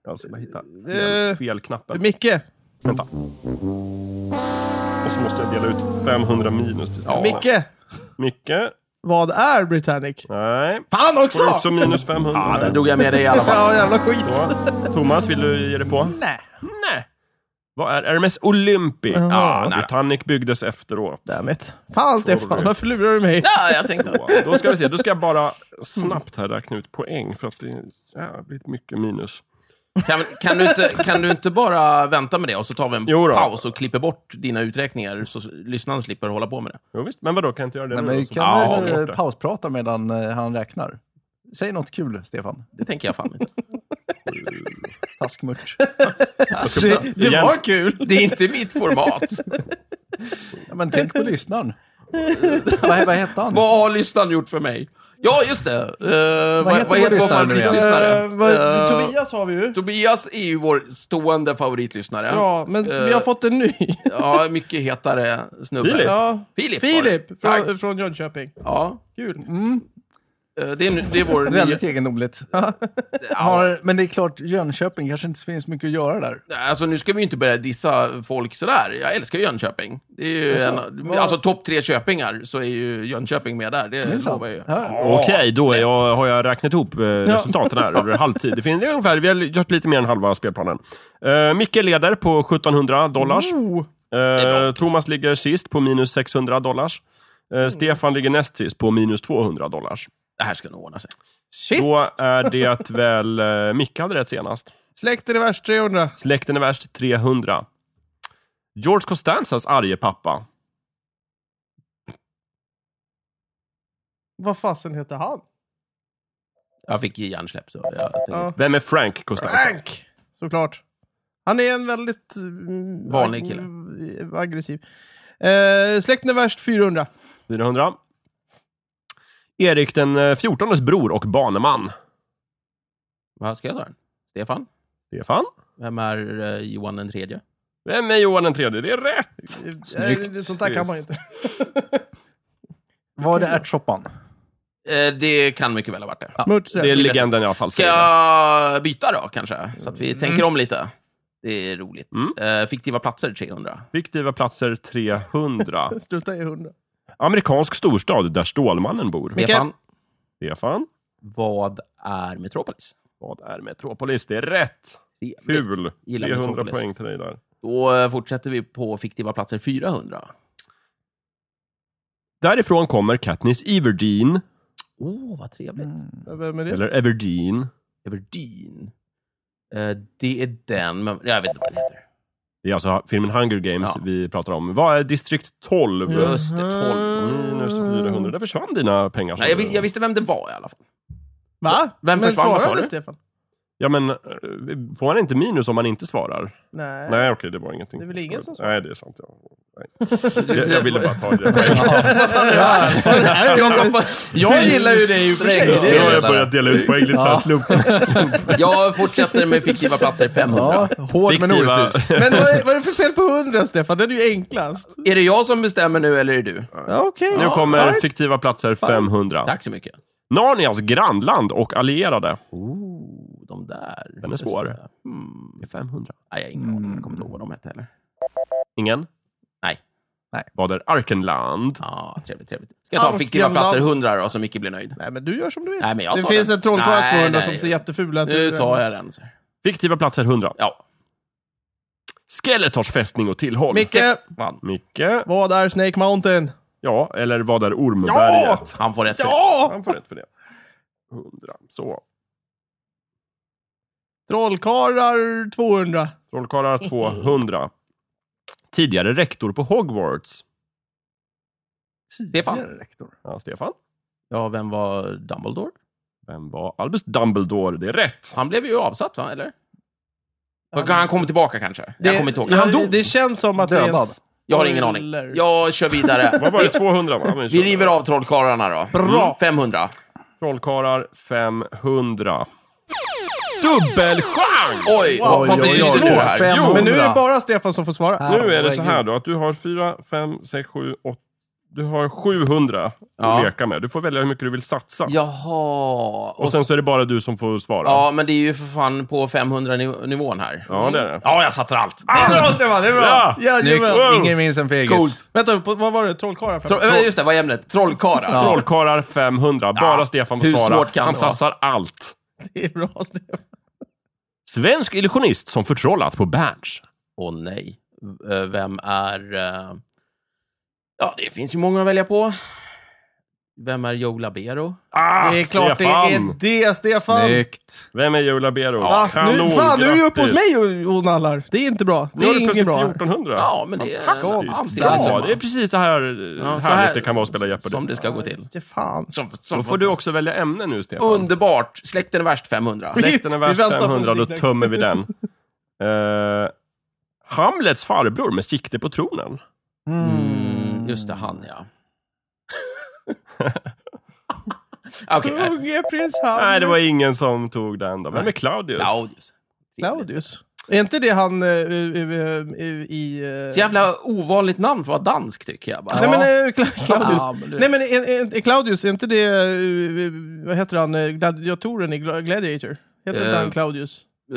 Speaker 1: Alltså, jag hittar
Speaker 4: Eh,
Speaker 1: fel, fel knappen.
Speaker 4: Micke.
Speaker 1: Vänta. Och så måste jag dela ut 500 minus till Stefan.
Speaker 2: Ja.
Speaker 4: Micke.
Speaker 1: Micke.
Speaker 4: Vad är Britannic?
Speaker 1: Nej.
Speaker 4: Fan
Speaker 1: Får du också minus 500?
Speaker 2: Ja, där drog jag med dig i alla fall.
Speaker 4: Ja, jävla skit.
Speaker 1: Så. Thomas, vill du ge dig på?
Speaker 4: Nej.
Speaker 1: Nej. Vad är Hermes Olympi?
Speaker 4: Ja.
Speaker 1: Ah,
Speaker 2: nära.
Speaker 1: Britannic byggdes efteråt.
Speaker 4: Dammit. Fan Stefan, varför lurar du mig?
Speaker 2: *laughs* Ja, jag tänkte.
Speaker 1: Så, då ska vi se. Då ska jag bara snabbt här räkna ut poäng för att det är jävligt mycket minus.
Speaker 2: Kan, kan, du inte, kan du inte bara vänta med det och så tar vi en
Speaker 1: Jo då.
Speaker 2: paus och klipper bort dina uträkningar så s- lyssnaren slipper hålla på med det?
Speaker 1: Jo, visst. Men vadå, kan jag inte göra det
Speaker 3: Nej,
Speaker 1: nu?
Speaker 3: men vi
Speaker 1: då? Så-
Speaker 3: kan
Speaker 2: Ja,
Speaker 1: vi har
Speaker 3: väl
Speaker 1: gjort det.
Speaker 3: eh, pausprata medan eh, han räknar. Säg något kul, Stefan.
Speaker 2: Det tänker jag fan inte. *laughs*
Speaker 3: Taskmört.
Speaker 2: Alltså,
Speaker 4: Det, det
Speaker 1: Igen.
Speaker 4: var kul.
Speaker 2: det är inte mitt format.
Speaker 3: ja, men tänk på lyssnaren. vad, vad hette han?
Speaker 2: Vad har lyssnaren gjort för mig? Ja, just det. Eh, vad,
Speaker 3: heter
Speaker 2: vad
Speaker 3: vår
Speaker 2: heter vår
Speaker 3: lyssnare nu igen?
Speaker 2: favoritlyssnare?
Speaker 4: Eh, vad-
Speaker 2: Eh,
Speaker 4: Tobias har vi ju.
Speaker 2: Tobias är ju vår stående favoritlyssnare.
Speaker 4: Ja, men vi har
Speaker 2: Eh,
Speaker 4: fått en ny. *laughs*
Speaker 2: Ja, mycket hetare snubbe.
Speaker 1: Filip.
Speaker 4: Ja.
Speaker 2: Filip, var det.
Speaker 4: Filip från,
Speaker 2: Tack. Mm.
Speaker 4: från Jönköping.
Speaker 2: Ja.
Speaker 4: Kul.
Speaker 2: Eh, Det är, nu- det är vår nya...
Speaker 3: Väldigt egendomligt. *laughs* Har, men det är klart, Jönköping kanske inte finns mycket att göra där.
Speaker 2: Alltså nu ska vi ju inte börja dissa folk sådär. Jag älskar ju Jönköping. Det är ju en, alltså topp tre Köpingar så är ju Jönköping med där. Det,
Speaker 3: sant.
Speaker 2: lovar jag ju.
Speaker 3: Ja.
Speaker 1: Okej, då är jag, har jag räknat ihop eh, resultaten här över halvtid. Det finns det är ungefär, vi har gjort lite mer än halva spelplanen. Uh, Micke leder på 1700 dollars.
Speaker 4: Oh.
Speaker 2: är
Speaker 1: Eh, Thomas ligger sist på minus 600 dollars. Eh, Stefan ligger näst sist på minus 200 dollars.
Speaker 2: Det här ska nog ordna sig.
Speaker 4: Shit!
Speaker 1: Då är det väl uh, Micke hade rätt senast.
Speaker 4: Släkten är värst 300.
Speaker 1: Släkten är värst 300. George Costanzas arge pappa.
Speaker 4: Vad fasen heter han?
Speaker 2: Jag fick ju hjärnsläpp så jag
Speaker 4: Ja.
Speaker 1: Vem är Frank Costanza?
Speaker 4: Frank! Såklart. Han är en väldigt... mm,
Speaker 2: Vanlig
Speaker 4: ag-
Speaker 2: kille.
Speaker 4: Aggressiv. Eh, släkten är värst 400.
Speaker 1: 400. Erik den eh, 14:es bror och baneman.
Speaker 2: Vad ska jag ta den? Stefan?
Speaker 1: Stefan?
Speaker 2: Vem är eh, Johan den tredje?
Speaker 1: Vem är Johan den tredje? Det är rätt!
Speaker 4: Snyggt. Eh, sånt där kan man ju inte.
Speaker 3: Var det ärtsoppan?
Speaker 2: Eh, det kan mycket väl ha varit det.
Speaker 4: Smuts
Speaker 1: Det är
Speaker 4: rätt.
Speaker 1: legenden i alla fall.
Speaker 2: Ska
Speaker 1: säger det.
Speaker 2: jag byta då kanske? Så att vi tänker om lite. Det är roligt.
Speaker 4: Mm.
Speaker 2: Eh, fiktiva platser 300.
Speaker 1: Fiktiva platser 300.
Speaker 4: Sluta i 100.
Speaker 1: Amerikansk storstad där Stålmannen bor.
Speaker 4: Micke.
Speaker 2: Stefan,
Speaker 1: Stefan?
Speaker 2: vad är Metropolis?
Speaker 1: Vad är Metropolis? Det är rätt!
Speaker 2: Trevligt.
Speaker 1: Kul!
Speaker 2: Gillar
Speaker 1: 300
Speaker 2: Metropolis.
Speaker 1: poäng till dig där.
Speaker 2: Då eh, fortsätter vi på fiktiva platser 400.
Speaker 1: Därifrån kommer Katniss Everdeen,
Speaker 2: Åh, oh, vad trevligt.
Speaker 4: Vem är det?
Speaker 1: eller Everdeen.
Speaker 2: Everdeen. Eh, det är den, men jag vet inte vad den heter.
Speaker 1: Det är alltså filmen Hunger Games
Speaker 2: Ja. Mm.
Speaker 1: vi pratar om. Vad är distrikt 12?
Speaker 2: Just
Speaker 4: Mm.
Speaker 2: det, 12.
Speaker 1: Minus 400. Där försvann dina pengar. sa
Speaker 2: Nej, jag,
Speaker 1: du.
Speaker 2: vi- jag visste vem det var i alla fall.
Speaker 4: Va?
Speaker 2: Vem
Speaker 4: Men
Speaker 2: försvann, vad sa
Speaker 4: svarar
Speaker 2: du?
Speaker 4: Stefan?
Speaker 1: Ja, men eh, får man inte minus om man inte svarar?
Speaker 4: Nej.
Speaker 1: Nej, okej, det var ingenting.
Speaker 4: Det är väl ingen som svarar?
Speaker 1: Nej, det är sant. Ja. Nej. Jag, jag ville bara ta det.
Speaker 2: *laughs*
Speaker 4: Jag gillar ju dig i och för sig.
Speaker 1: Nu har jag
Speaker 3: redan.
Speaker 1: börjat dela ut poäng lite så här
Speaker 3: Ja.
Speaker 1: slumpmässigt.
Speaker 2: Jag fortsätter med fiktiva platser 500.
Speaker 3: Ja, hård men
Speaker 1: Fiktiva-
Speaker 3: orättvis.
Speaker 4: Men vad
Speaker 1: *laughs*
Speaker 4: är, vad är det för fel på 100 Stefan? Den är ju enklast.
Speaker 2: Är det jag som bestämmer nu eller är det du?
Speaker 4: Ja, Okej.
Speaker 1: Nu
Speaker 2: Ja,
Speaker 1: kommer fiktiva platser 500.
Speaker 2: Tack så mycket.
Speaker 1: Narnias grannland och allierade.
Speaker 2: Oh, de där.
Speaker 1: Den är svår.
Speaker 2: Mm.
Speaker 1: Det är 500.
Speaker 2: Nej, jag har ingen aning. Jag kommer inte ihåg vad de hette heller.
Speaker 1: Ingen?
Speaker 2: Nej.
Speaker 3: Nej.
Speaker 1: Vad är Arkenland?
Speaker 2: Ja, trevligt, trevligt. Ska jag ta fiktiva
Speaker 4: Arkenland.
Speaker 2: platser 100 då, så mycket blir nöjd?
Speaker 4: Nej, men du gör som du vill.
Speaker 2: Nej, men jag
Speaker 4: det
Speaker 2: tar
Speaker 4: finns
Speaker 2: den.
Speaker 4: en trollkarl
Speaker 2: Nej,
Speaker 4: 200
Speaker 2: nej.
Speaker 4: som ser jätteful ut.
Speaker 2: Nu tar jag den. så.
Speaker 1: Fiktiva platser 100.
Speaker 2: Ja,
Speaker 1: Skeletors fästning och tillhåll.
Speaker 4: Micke,
Speaker 2: fan.
Speaker 1: Micke.
Speaker 4: vad är Snake Mountain?
Speaker 1: Ja, eller vad är Ormberget?
Speaker 2: Han får rätt för det.
Speaker 4: Ja!
Speaker 1: Han får rätt för det. 100. Så.
Speaker 4: Trollkarlar 200.
Speaker 1: Trollkarlar 200. Tidigare rektor på Hogwarts.
Speaker 2: Stefan.
Speaker 3: Tidigare rektor.
Speaker 1: Ja, Stefan.
Speaker 2: Ja, vem var Dumbledore?
Speaker 1: Vem var Albus Dumbledore? Det är rätt.
Speaker 2: Han blev ju avsatt, va? Eller? Han kommer tillbaka kanske. jag kommer inte ihåg.
Speaker 4: Ja,
Speaker 2: Nej, han dog.
Speaker 4: Det känns som att det är...
Speaker 3: Dödad.
Speaker 4: en-
Speaker 2: Jag har ingen aning.
Speaker 4: Eller-
Speaker 2: Jag kör vidare.
Speaker 1: Vad var det? 200 va? Men
Speaker 2: Vi
Speaker 1: kör.
Speaker 2: river av trollkarlarna då.
Speaker 4: Bra.
Speaker 2: Mm, 500.
Speaker 1: Trollkarlar 500. Dubbelchans!
Speaker 2: Oj,
Speaker 3: Wow,
Speaker 2: vad
Speaker 3: oj,
Speaker 2: blir
Speaker 3: oj,
Speaker 2: det
Speaker 3: oj.
Speaker 2: då här?
Speaker 3: Fem-
Speaker 1: Jo,
Speaker 4: Men nu är det
Speaker 3: 100.
Speaker 4: bara Stefan som får svara.
Speaker 1: nu är det så
Speaker 3: herregud.
Speaker 1: här då, att du har 4, 5, 6, 7, 8... Du har 700
Speaker 2: Ja.
Speaker 1: att leka med. Du får välja hur mycket du vill satsa.
Speaker 2: Jaha.
Speaker 1: Och sen så är det bara du som får svara.
Speaker 2: Ja, men det är ju för fan på 500-nivån här.
Speaker 1: Ja, det är det.
Speaker 2: Ja, jag satsar allt.
Speaker 4: Det är bra Stefan, det är
Speaker 1: Ja.
Speaker 4: bra!
Speaker 3: Snyggt.
Speaker 4: Jajamän.
Speaker 1: Wow.
Speaker 3: Ingen minns en fegis.
Speaker 2: Coolt.
Speaker 4: Vänta, på- vad var det? Trollkarlar?
Speaker 2: Tro- äh, just det, vad är ämnet? Trollkarlar.
Speaker 1: *clears throat*
Speaker 3: Ja.
Speaker 1: Trollkarlar 500. Bara
Speaker 2: Ja,
Speaker 1: Stefan
Speaker 2: hur
Speaker 1: får svara.
Speaker 2: svårt kan
Speaker 1: Han
Speaker 2: det vara?
Speaker 1: satsar allt.
Speaker 4: Det är bra Stefan.
Speaker 1: Svensk illusionist som förtrollat på Berns.
Speaker 2: Åh nej. Eh, Vem är... eh, Ja, det finns ju många att välja på. Vem är Joe Labero?
Speaker 1: Ah,
Speaker 4: Det är klart det är
Speaker 1: Stefan!
Speaker 4: det Stefan!
Speaker 3: Snyggt.
Speaker 1: Vem är Joe Labero?
Speaker 4: Ah, nu,
Speaker 1: Kanon,
Speaker 4: fan, nu är du uppe hos
Speaker 1: grattis.
Speaker 4: mig och, och nallar. Det är inte bra. Det
Speaker 1: Nu har
Speaker 4: är
Speaker 1: du
Speaker 4: inget
Speaker 1: plötsligt
Speaker 4: bra.
Speaker 1: 1400.
Speaker 2: Ja, men det är
Speaker 1: Fantastiskt.
Speaker 2: det är
Speaker 1: Bra.
Speaker 2: som-
Speaker 1: det är precis det här
Speaker 2: Ja,
Speaker 1: härligt
Speaker 2: så här-
Speaker 1: det kan vara att spela Jeopardy.
Speaker 2: Som det ska gå till.
Speaker 4: Ja, fan.
Speaker 1: Då får du också välja ämne nu, Stefan.
Speaker 2: Underbart! Släkten är värst 500.
Speaker 1: Släkten är
Speaker 4: Vi
Speaker 1: värd
Speaker 4: väntar på
Speaker 1: 500, då
Speaker 4: Stig.
Speaker 1: tömmer vi den. Eh, Hamlets farbror med sikte på tronen.
Speaker 2: Mm, just det, han ja. Okej, okay,
Speaker 4: Unge prins Hamlet.
Speaker 1: Nej, det var ingen som tog den då. Vem är
Speaker 2: Nej.
Speaker 1: Claudius?
Speaker 2: Claudius.
Speaker 4: Claudius. Är inte det han eh, eh, eh, i... eh,
Speaker 2: Så jävla ovanligt namn för att vara dansk, tycker jag. Bara.
Speaker 4: Nej men
Speaker 2: Ja.
Speaker 4: eh, Cla- Claudius.
Speaker 2: Ja, men du vet.
Speaker 4: Nej men är, är, är Claudius, är inte det, eh, eh, vad heter han, eh, gladiatoren i Gla- Gladiator? Heter inte
Speaker 2: Eh,
Speaker 4: han Claudius?
Speaker 2: Eh,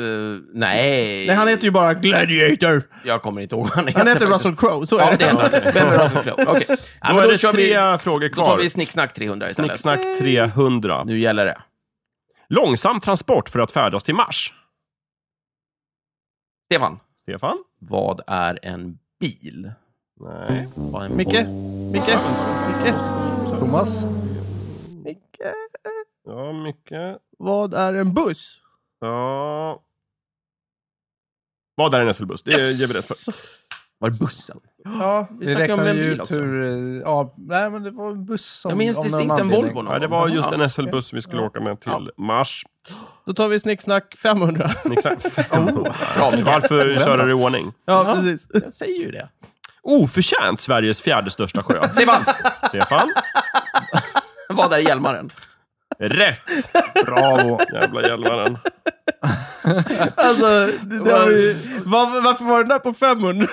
Speaker 2: nej.
Speaker 4: Nej han heter ju bara Gladiator!
Speaker 2: Jag kommer inte ihåg vad han heter.
Speaker 4: Han heter
Speaker 2: faktiskt.
Speaker 4: Russell Crowe, så är
Speaker 2: Ja,
Speaker 4: det.
Speaker 2: det heter han. Vem är Russell Crowe? Okej. Ja,
Speaker 1: Då
Speaker 2: men
Speaker 1: är
Speaker 2: då,
Speaker 1: det
Speaker 2: kör
Speaker 1: tre
Speaker 2: vi,
Speaker 1: frågor
Speaker 2: då tar
Speaker 1: kvar.
Speaker 2: vi Snicksnack 300 istället.
Speaker 1: Snicksnack 300.
Speaker 2: Nu gäller det.
Speaker 1: Långsam transport för att färdas till Mars.
Speaker 2: Stefan,
Speaker 1: Stefan?
Speaker 2: vad är en bil?
Speaker 1: Nej.
Speaker 2: Vad är en
Speaker 4: Micke? Micke? Micke?
Speaker 3: Thomas?
Speaker 4: Micke?
Speaker 1: Ja, mycket.
Speaker 4: Vad är en buss?
Speaker 1: Ja. Vad är en SL-buss? Det ger vi rätt för.
Speaker 2: Var är bussen?
Speaker 4: Ja.
Speaker 2: Vi
Speaker 3: Det
Speaker 2: snackade om
Speaker 3: räknade
Speaker 2: en
Speaker 3: ju
Speaker 2: bil
Speaker 3: ut
Speaker 2: också.
Speaker 3: hur... eh, Ja, nej, men det var en buss som...
Speaker 2: Jag minns
Speaker 3: av någon
Speaker 2: distinkt en
Speaker 3: anledning.
Speaker 2: Volvo någon
Speaker 1: Ja, det
Speaker 2: gång.
Speaker 1: var just
Speaker 2: Ja.
Speaker 1: en SL-buss vi skulle åka med till Mars.
Speaker 4: Då tar vi Snicksnack 500.
Speaker 1: Exakt.
Speaker 2: Bra, Micke.
Speaker 1: Varför köra det i ordning?
Speaker 4: Ja,
Speaker 2: Ja.
Speaker 4: precis.
Speaker 2: Jag säger ju det. *laughs*
Speaker 1: Oförtjänt Sveriges fjärde största
Speaker 4: *laughs*
Speaker 1: sjö.
Speaker 2: Stefan,
Speaker 1: Stefan?
Speaker 2: vad är Hjälmaren?
Speaker 1: Rätt!
Speaker 3: Bravo.
Speaker 1: Jävla Hjälmaren.
Speaker 4: Alltså, det det var ju,
Speaker 1: *laughs*
Speaker 4: var, varför var den där på *laughs* 500?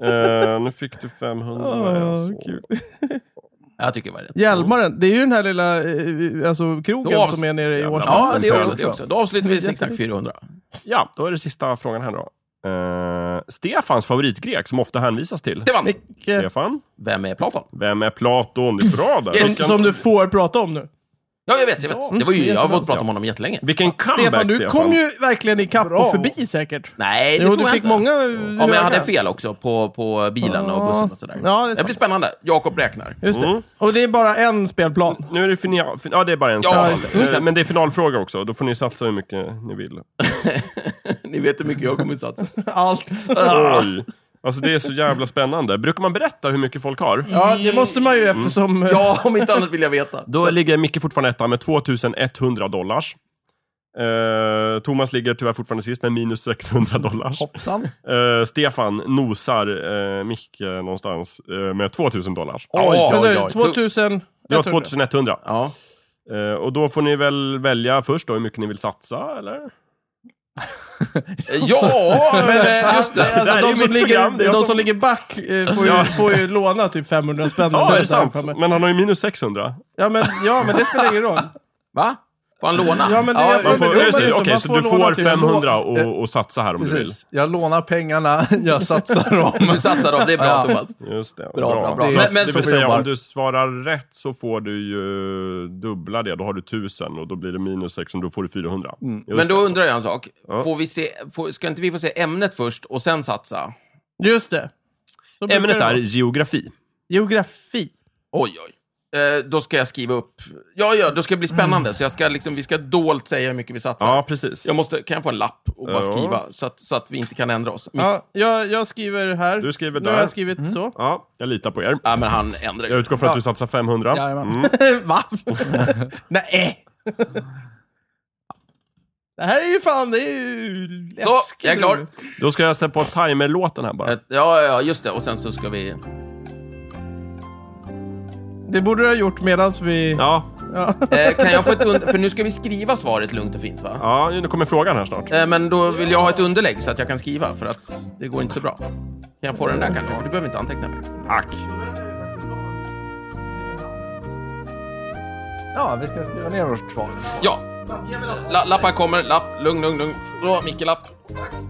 Speaker 1: Eh, nu fick du 500.
Speaker 4: Åh,
Speaker 1: alltså.
Speaker 4: Ah, kul.
Speaker 2: Jag tycker det var rätt.
Speaker 4: Hjälmaren, det är ju den här lilla eh, alltså, krogen
Speaker 2: Då avs-
Speaker 4: som är nere i
Speaker 1: Jävlar.
Speaker 4: Washington.
Speaker 2: Ja, det
Speaker 1: Den
Speaker 2: också,
Speaker 1: pölen.
Speaker 2: det också. Då avslutar vi Snicksnack 400.
Speaker 1: Ja, då är det sista frågan här då. Eh, Stefans favoritgrek som ofta hänvisas till.
Speaker 2: Stefan,
Speaker 4: Micke,
Speaker 1: Stefan?
Speaker 2: vem är Platon?
Speaker 1: Vem är Platon? Det är bra där.
Speaker 2: Yes.
Speaker 4: som, som du får prata om nu.
Speaker 2: Ja, jag vet, jag
Speaker 4: Ja,
Speaker 2: vet. Det var ju, jag har
Speaker 4: jättebra.
Speaker 2: fått prata om honom jättelänge.
Speaker 1: Vilken comeback,
Speaker 4: Stefan,
Speaker 1: Stefan.
Speaker 4: du kom ju verkligen ikapp och förbi säkert.
Speaker 2: Nej, det
Speaker 4: Jo,
Speaker 2: tror
Speaker 4: du
Speaker 2: jag
Speaker 4: fick
Speaker 2: inte.
Speaker 4: många... eh,
Speaker 2: Ja, men jag hade fel också på, på bilen och
Speaker 4: Ja.
Speaker 2: bussen och sådär.
Speaker 4: Ja, det är
Speaker 2: det,
Speaker 4: sant.
Speaker 2: blir spännande. Jakob
Speaker 4: *laughs*
Speaker 2: räknar.
Speaker 4: Just det.
Speaker 1: Mm.
Speaker 4: Och det är bara
Speaker 1: *laughs*
Speaker 4: en spelplan.
Speaker 1: Nu är det final... fin- Ja, det är bara en
Speaker 2: Ja,
Speaker 1: ja,
Speaker 2: det är klart.
Speaker 1: Men det är finalfråga också. Då får ni satsa hur mycket ni vill.
Speaker 2: Ni vet hur mycket jag kommer satsa. *laughs*
Speaker 4: Allt. Ah.
Speaker 1: Oj! Alltså det är så jävla spännande. Brukar man berätta hur mycket folk har?
Speaker 4: Ja, det måste man ju
Speaker 1: Mm.
Speaker 4: eftersom... eh,
Speaker 2: Ja, om inte annat vill jag veta.
Speaker 1: Då ligger Micke fortfarande etta med 2100 dollars. Eh, Thomas ligger tyvärr fortfarande sist med minus 600 dollars.
Speaker 3: Hoppsan.
Speaker 1: Eh, Stefan nosar eh, Micke någonstans eh, med 2000 dollars.
Speaker 2: Oj,
Speaker 4: alltså,
Speaker 2: oj, oj.
Speaker 4: 2000...
Speaker 1: Du har 2100.
Speaker 2: Ja.
Speaker 1: Eh, och då får ni väl välja först då hur mycket ni vill satsa, eller?
Speaker 2: ja,
Speaker 4: *laughs*
Speaker 2: *laughs*
Speaker 4: Eh,
Speaker 2: just det.
Speaker 4: Alltså,
Speaker 1: Det här är ju
Speaker 4: de som,
Speaker 1: mitt program, det är
Speaker 4: ligger,
Speaker 1: jag
Speaker 4: de som...
Speaker 1: som-
Speaker 4: ligger back eh, får, ju,
Speaker 1: Ja.
Speaker 4: får ju låna typ 500 spänn.
Speaker 1: Ja,
Speaker 4: eller
Speaker 1: är det
Speaker 4: så här
Speaker 1: sant?
Speaker 4: för mig.
Speaker 1: Men han har ju minus 600.
Speaker 4: Ja men, ja, men det spelar ingen roll.
Speaker 2: Va? Får han låna?
Speaker 4: Ja, men det
Speaker 1: Man
Speaker 4: är- men
Speaker 1: får,
Speaker 4: då
Speaker 1: just
Speaker 4: var det
Speaker 1: det,
Speaker 4: så,
Speaker 1: okej,
Speaker 4: man
Speaker 1: så
Speaker 4: får
Speaker 1: du
Speaker 4: låna
Speaker 1: får
Speaker 4: till- Eh,
Speaker 1: 500 och, och satsa här om du vill.
Speaker 3: Precis. Jag lånar pengarna, *laughs* jag
Speaker 1: *laughs*
Speaker 3: satsar dem.
Speaker 2: Du satsar dem, det är
Speaker 4: *laughs*
Speaker 2: bra
Speaker 3: Ja.
Speaker 2: Thomas.
Speaker 1: Just det.
Speaker 2: Bra, bra, bra.
Speaker 1: Så
Speaker 2: Men-
Speaker 1: att
Speaker 2: men
Speaker 1: det
Speaker 2: så
Speaker 1: vill
Speaker 2: vi
Speaker 1: säga,
Speaker 3: jobbar.
Speaker 1: om du svarar rätt så får du ju dubbla det. Då har du 1000 och då blir det minus 600, då får du 400. Just
Speaker 2: Mm. Men då
Speaker 1: det.
Speaker 2: undrar jag en sak.
Speaker 1: Ja.
Speaker 2: Får vi se, får, ska inte vi få se ämnet först och sen satsa?
Speaker 4: Just det. Så brukar
Speaker 1: Ämnet
Speaker 4: det
Speaker 1: är
Speaker 4: vara.
Speaker 1: geografi.
Speaker 4: Geografi.
Speaker 2: Oj, oj. Eh, då ska jag skriva upp. Ja, ja, då ska det bli spännande. Så jag ska liksom, vi ska dolt säga hur mycket vi satsar.
Speaker 1: Ja, precis.
Speaker 2: Jag måste, kan jag få en lapp och bara
Speaker 1: Ja.
Speaker 2: skriva så att, så att vi inte kan ändra oss? Mitt-
Speaker 4: Ja, jag, jag skriver här.
Speaker 1: Du skriver
Speaker 4: Nu har
Speaker 1: där.
Speaker 4: jag skrivit så.
Speaker 1: Ja, jag litar på er.
Speaker 2: Ja, men han ändrar ju
Speaker 1: Jag
Speaker 2: sig.
Speaker 1: utgår från att du satsar 500.
Speaker 3: Jajamän.
Speaker 1: Mm.
Speaker 4: *laughs* Va? *laughs* Nej. det här är ju fan, det är ju
Speaker 2: Så,
Speaker 4: läskigt
Speaker 2: jag är klar.
Speaker 4: roligt.
Speaker 1: Då ska jag sätta på timerlåten här bara.
Speaker 2: Ett- Ja, ja, just det. Och sen så ska vi...
Speaker 4: Det borde du ha gjort medan vi...
Speaker 1: Ja,
Speaker 4: Ja.
Speaker 2: Eh, kan jag få ett under... För nu ska vi skriva svaret lugnt och fint, va?
Speaker 1: Ja, nu kommer frågan här snart.
Speaker 2: Eh, men då vill jag ha ett underlägg så att jag kan skriva, för att det går inte så bra. Kan jag få den där kanske? För du behöver inte anteckna mig.
Speaker 1: Tack.
Speaker 3: Ja, vi ska skriva ner vårt svar.
Speaker 1: Äh,
Speaker 2: Ja. La, lappar kommer. Lapp. Lugn, lugn, lugn. Så, Micke lapp.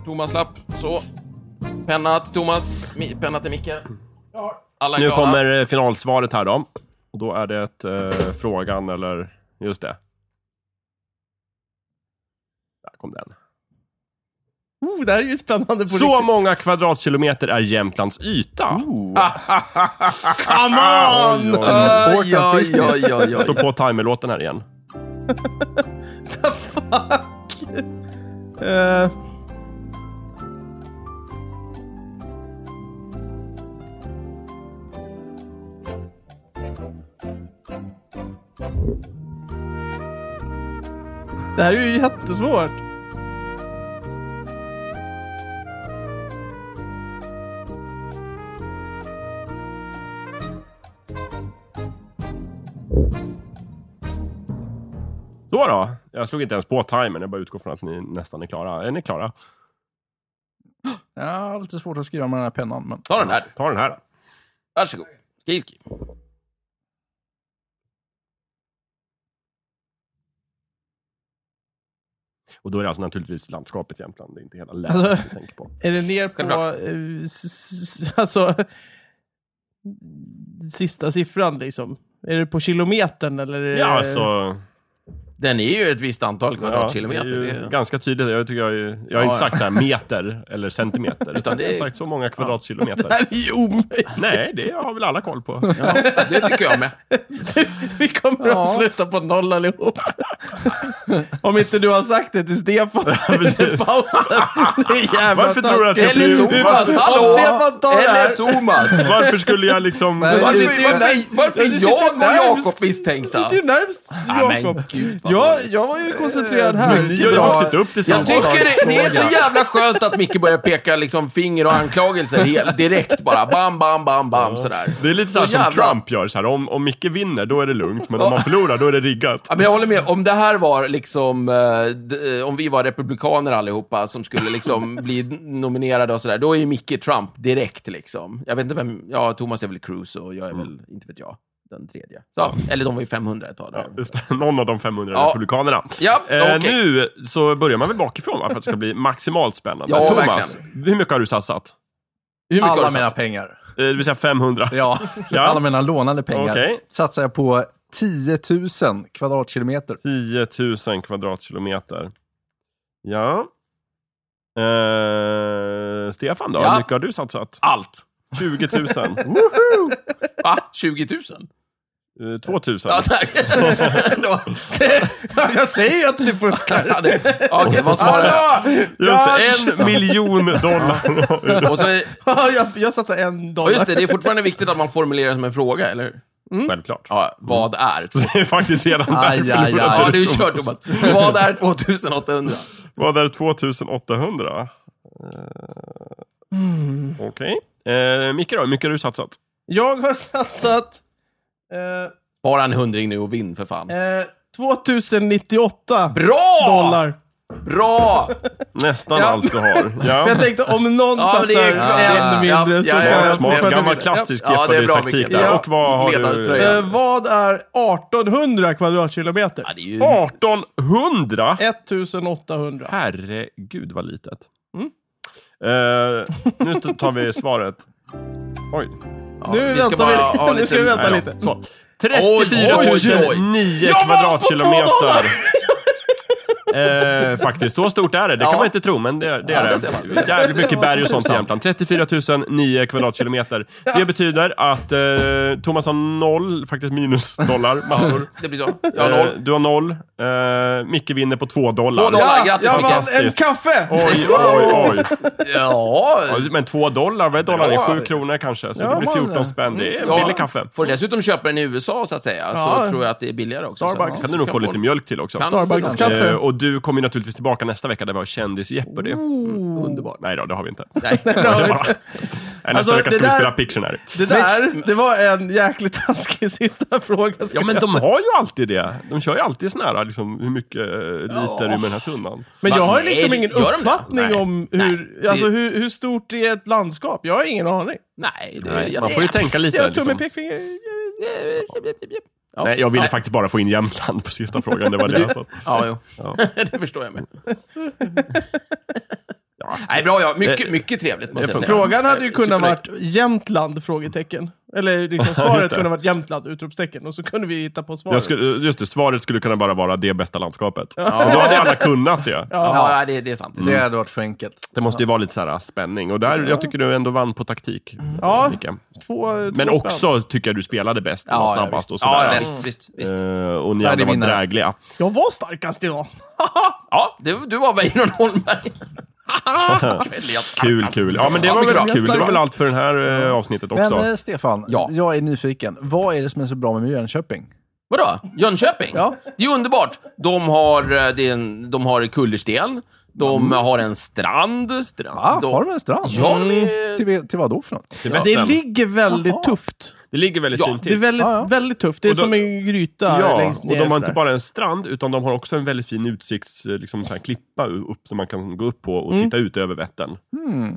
Speaker 2: Thomas lapp. Så. Penna till Thomas. Mi, penna till Micke. Alla är
Speaker 1: Nu
Speaker 2: glada.
Speaker 1: kommer eh, finalsvaret här då. Och då är det ett, eh, frågan eller... Just det. Där kom den.
Speaker 4: Oh, det här är ju spännande på
Speaker 1: Så många kvadratkilometer är Jämtlands yta?
Speaker 4: Come on!
Speaker 1: Oj, oj, oj.
Speaker 2: Aj, aj, aj, aj,
Speaker 1: Slå
Speaker 2: aj.
Speaker 1: på timerlåten här igen.
Speaker 4: Eh, Det här är ju jättesvårt.
Speaker 1: Så då. Jag slog inte ens på timern. Jag bara utgår från att ni nästan är klara. Är ni klara?
Speaker 3: Ja, jag har lite svårt att skriva med den här pennan. Men...
Speaker 2: Ta den här.
Speaker 1: Ta den här.
Speaker 2: Varsågod. Skriv, skriv.
Speaker 1: Och då är det alltså naturligtvis landskapet Jämtland. Det är inte hela länet
Speaker 4: Alltså-
Speaker 1: vi tänker på.
Speaker 4: Är det ner på...
Speaker 2: Självklart.
Speaker 4: eh, s- s- s- alltså... Sista siffran liksom. Är det på kilometern eller? är det-
Speaker 1: Ja,
Speaker 4: *laughs*
Speaker 1: alltså...
Speaker 2: Den är ju ett visst antal
Speaker 1: Ja,
Speaker 2: kvadratkilometer.
Speaker 1: det är ju
Speaker 2: det är-
Speaker 1: Ganska tydligt. Jag, tycker jag, är ju- jag har
Speaker 2: Ja,
Speaker 1: inte
Speaker 2: ja.
Speaker 1: sagt så här meter eller centimeter.
Speaker 2: Utan det är-
Speaker 1: Jag har sagt så många kvadratkilometer.
Speaker 4: Det här är ju omöjligt.
Speaker 1: Nej, det har väl alla koll på.
Speaker 2: Ja, det tycker
Speaker 1: *laughs*
Speaker 2: jag med.
Speaker 4: *laughs* Vi kommer
Speaker 3: Ja.
Speaker 4: att sluta på noll allihop. Om inte du har sagt det till Stefan under pausen. Det är jävla
Speaker 1: Varför tror du att jag
Speaker 4: taskigt.
Speaker 1: blir-
Speaker 4: Eller
Speaker 1: Thomas,
Speaker 4: Thomas,
Speaker 2: hallå?
Speaker 4: Om Stefan tar det här.
Speaker 2: Thomas!
Speaker 1: Varför skulle jag liksom...
Speaker 3: Nej,
Speaker 4: Varför-
Speaker 2: Varför,
Speaker 4: sitter ju närmst.
Speaker 2: varför, varför
Speaker 4: Du
Speaker 2: är
Speaker 4: sitter
Speaker 2: jag och
Speaker 4: närmst.
Speaker 2: Jakob
Speaker 4: Du
Speaker 2: misstänkta?
Speaker 4: sitter ju närmst
Speaker 2: Ja, men
Speaker 4: Jakob.
Speaker 2: gud, vad
Speaker 4: Jag,
Speaker 2: dåligt.
Speaker 4: jag var ju koncentrerad här.
Speaker 1: Micke och jag har suttit upp
Speaker 2: Jag
Speaker 1: tillsammans.
Speaker 2: tycker det, det är så jävla skönt att Micke börjar peka liksom finger och *laughs* anklagelser helt, direkt bara. Bam, bam, bam, bam sådär.
Speaker 1: Det är lite så här
Speaker 2: Så
Speaker 1: som
Speaker 2: jävla-
Speaker 1: Trump gör. Så här, om, om Micke vinner, då är det lugnt. Men om han förlorar, då är det riggat.
Speaker 2: Ja, men jag håller med. Om det här var liksom, eh, d- eh, om vi var republikaner allihopa som skulle liksom bli nominerade och sådär, då är ju Micke Trump direkt liksom. Jag vet inte vem, ja, Thomas är väl Cruz och jag är väl, inte vet jag, den tredje. Så, eller de var ju 500 ett tag där.
Speaker 1: Ja, just det. Någon av de 500
Speaker 2: Ja.
Speaker 1: republikanerna.
Speaker 2: Ja,
Speaker 1: Eh,
Speaker 2: okej.
Speaker 1: Nu så börjar man väl bakifrån, va? För att det ska bli maximalt spännande.
Speaker 2: Ja,
Speaker 1: Thomas, hur mycket har du satsat?
Speaker 2: Hur mycket har
Speaker 3: Alla
Speaker 2: du
Speaker 3: mina
Speaker 2: satsat?
Speaker 3: pengar.
Speaker 1: Eh, Det vill säga 500.
Speaker 3: Ja,
Speaker 1: Ja.
Speaker 3: alla mina lånade pengar
Speaker 1: Okej.
Speaker 3: satsar jag på 10 000 kvadratkilometer.
Speaker 1: 10 000 kvadratkilometer. Ja. Eh, Stefan då,
Speaker 2: Ja.
Speaker 1: hur mycket har du satsat?
Speaker 2: Allt.
Speaker 1: 20 000.
Speaker 2: *laughs* Va? 20 000?
Speaker 1: Eh, 2 000.
Speaker 2: Ja, tack. Då-
Speaker 4: *laughs* Jag säger ju att ni fuskar. *laughs*
Speaker 2: ja, det- Okej, vad svarar jag?
Speaker 1: Just det, en miljon dollar.
Speaker 2: Och så är,
Speaker 4: Ja, jag, jag satsar en
Speaker 2: och just
Speaker 4: dollar.
Speaker 2: det, det är fortfarande viktigt att man formulerar som en fråga, eller
Speaker 1: *laughs*
Speaker 2: hur?
Speaker 1: Självklart.
Speaker 2: Ja, vad är?
Speaker 1: Det är faktiskt redan
Speaker 3: Aj,
Speaker 1: där
Speaker 3: aj,
Speaker 1: förlorat.
Speaker 3: aj.
Speaker 2: Ja, du är kört, Thomas. Vad är 2800?
Speaker 1: Vad är 2800? Uh, Okej. Eh, Micke då, hur mycket har du satsat?
Speaker 4: Jag har satsat eh,
Speaker 2: Bara en hundring nu och vinn för fan.
Speaker 4: eh, 2098
Speaker 2: Bra!
Speaker 4: dollar.
Speaker 2: Bra!
Speaker 1: Nästan
Speaker 4: Ja.
Speaker 1: allt du har.
Speaker 4: Men
Speaker 1: Ja.
Speaker 4: jag tänkte om någon
Speaker 2: Ja, men det är
Speaker 4: satsar
Speaker 2: klart. Ja,
Speaker 4: en mindre
Speaker 2: ja,
Speaker 4: så
Speaker 2: ja,
Speaker 4: kan
Speaker 2: ja,
Speaker 1: Smart,
Speaker 2: ja.
Speaker 4: jag
Speaker 1: smart,
Speaker 4: fortfarande
Speaker 1: gammal
Speaker 4: vinna.
Speaker 1: klassisk
Speaker 2: Ja, det är bra,
Speaker 1: Jeopardy-taktik
Speaker 2: Micke.
Speaker 1: där.
Speaker 4: Ja.
Speaker 1: Och vad har du?
Speaker 2: Ledartröja.
Speaker 4: Eh, vad är 1800 kvadratkilometer?
Speaker 2: Ja, det är ju...
Speaker 1: 1800?
Speaker 4: 1800.
Speaker 1: Herregud vad litet. Eh, nu tar vi svaret. Oj.
Speaker 2: Ja,
Speaker 4: nu
Speaker 2: vi ska
Speaker 4: väntar
Speaker 2: bara
Speaker 1: *laughs*
Speaker 4: vi.
Speaker 2: ha
Speaker 4: nu ska vi
Speaker 2: lite...
Speaker 4: vänta
Speaker 1: Nej,
Speaker 4: lite.
Speaker 1: Så.
Speaker 2: Oj, oj,
Speaker 1: 34
Speaker 2: oj.
Speaker 1: 9
Speaker 4: Jag var på två
Speaker 1: kvadratkilometer. *laughs* Eh, faktiskt, så stort är det. Det kan
Speaker 2: Ja.
Speaker 1: man inte tro, men det, det är
Speaker 2: Ja, det ser man.
Speaker 1: det. Jävligt mycket berg och sånt i Jämtland. 34 009 kvadratkilometer. Det betyder att eh, Thomas har noll, faktiskt minus
Speaker 2: *laughs*
Speaker 1: dollar, massor.
Speaker 2: Det blir så. Jag har noll.
Speaker 1: Eh, du har noll. Eh, Micke vinner på två dollar.
Speaker 2: Två dollar. Grattis,
Speaker 4: jag
Speaker 2: Micke.
Speaker 4: vann en kaffe!
Speaker 2: *laughs*
Speaker 1: Oj, oj, oj.
Speaker 2: Ja,
Speaker 1: Ja, Men två dollar, vad är dollarn?
Speaker 2: Ja.
Speaker 1: Sju kronor kanske, så
Speaker 3: Ja,
Speaker 1: det blir
Speaker 3: man-
Speaker 1: 14 spänn. Det är
Speaker 2: Ja.
Speaker 1: billig kaffe.
Speaker 2: Får du dessutom köpa den i USA, så att säga, så
Speaker 4: Ja.
Speaker 2: tror jag att det är billigare också.
Speaker 4: Starbucks.
Speaker 2: Så-
Speaker 1: Kan du nog få lite mjölk till också.
Speaker 2: Kan-
Speaker 4: Starbucks-kaffe.
Speaker 1: Eh, och du kommer ju naturligtvis tillbaka nästa vecka där vi har kändis-Jeopardy.
Speaker 2: Underbart.
Speaker 1: *laughs* Nej då, det har vi inte.
Speaker 2: Nej.
Speaker 1: Det var bara- Nästa
Speaker 4: Alltså,
Speaker 1: vecka
Speaker 4: det
Speaker 1: ska vi
Speaker 4: där-
Speaker 1: spela Pictionary.
Speaker 4: Det där, det var en jäkligt taskig *laughs* sista fråga. ska
Speaker 1: Ja, men
Speaker 4: jag
Speaker 1: de
Speaker 4: säga.
Speaker 1: har ju alltid det. De kör ju alltid såna här, liksom, hur mycket eh, liter är med den här tunnan?
Speaker 4: men jag har
Speaker 2: Nej,
Speaker 4: liksom
Speaker 2: det-
Speaker 4: ingen
Speaker 2: gör de det?
Speaker 4: uppfattning
Speaker 1: Nej.
Speaker 4: om hur,
Speaker 2: Det-
Speaker 4: alltså, hur, hur stort är ett landskap. Jag har ingen aning.
Speaker 2: Nej, det,
Speaker 1: Nej,
Speaker 2: jag-
Speaker 1: man får ju tänka lite.
Speaker 4: Jag tumme,
Speaker 1: liksom.
Speaker 4: pekfinger.
Speaker 2: Ja.
Speaker 1: Nej, jag ville faktiskt bara få in Jämtland på sista frågan. Det var det. Så.
Speaker 2: Ja, jo.
Speaker 1: Ja.
Speaker 2: *laughs* det förstår jag med. Nej, bra ja.
Speaker 1: Eh,
Speaker 2: Mycket, mycket trevligt måste jag säga.
Speaker 4: Frågan hade ju
Speaker 2: Eh,
Speaker 4: kunnat
Speaker 2: supernöjd.
Speaker 4: varit Jämtland? Frågetecken.
Speaker 1: *laughs*
Speaker 4: Eller liksom svaret
Speaker 1: Just det.
Speaker 4: kunde ha varit Jämtland? Utropstecken. Och så kunde vi hitta på svaret.
Speaker 1: Jag skulle, just det, svaret skulle kunna bara vara det bästa landskapet. Och då hade alla kunnat det.
Speaker 2: Ja, det, det är sant.
Speaker 1: Mm,
Speaker 3: Det hade varit för enkelt.
Speaker 1: Det måste ju vara lite så här äh, spänning. Och där, jag tycker du ändå vann på taktik.
Speaker 4: Ja.
Speaker 1: Micke.
Speaker 4: Två, två
Speaker 1: Men
Speaker 4: spänn.
Speaker 1: också tycker jag du spelade bäst,
Speaker 2: Ja,
Speaker 1: ja,
Speaker 2: ja,
Speaker 1: snabbast och
Speaker 2: Ja,
Speaker 1: sådär.
Speaker 2: ja, visst, visst. visst.
Speaker 1: Eh, och ni
Speaker 3: är
Speaker 1: andra var
Speaker 3: vinnare.
Speaker 1: drägliga.
Speaker 4: Jag var starkast idag.
Speaker 2: Ja, du, du var Weiron
Speaker 1: *laughs*
Speaker 2: Holmberg. Kväll, jag
Speaker 1: Kul, kul. Ja, men det
Speaker 2: alltså. Ja,
Speaker 1: var väl
Speaker 2: mycket bra.
Speaker 1: kul. Det var väl allt för det här eh, avsnittet också.
Speaker 3: Men eh, Stefan,
Speaker 2: Ja.
Speaker 3: jag är nyfiken. Vad är det som är så bra med Jönköping?
Speaker 2: Vadå? Jönköping?
Speaker 3: Ja.
Speaker 2: Det är ju underbart. De har, eh, det är en, de har kullersten. De
Speaker 1: Mm.
Speaker 2: har en strand. strand.
Speaker 3: Ah, har de en strand? Mm.
Speaker 2: Ja, men-
Speaker 3: Till, till vad då för något?
Speaker 1: Till
Speaker 4: Men det
Speaker 1: vatten.
Speaker 4: ligger väldigt tufft.
Speaker 1: det ligger väldigt
Speaker 2: Ja,
Speaker 1: fint
Speaker 4: Det är
Speaker 1: till.
Speaker 4: väldigt,
Speaker 3: Ja, ja.
Speaker 4: väldigt tufft. Det är
Speaker 1: Och då-
Speaker 4: som en gryta
Speaker 1: Ja,
Speaker 4: längst
Speaker 1: och
Speaker 4: ner.
Speaker 1: de har
Speaker 4: sådär.
Speaker 1: inte bara en strand, utan de har också en väldigt fin utsikts, eh, liksom så här klippa upp som man kan gå upp på och titta ut över Vättern.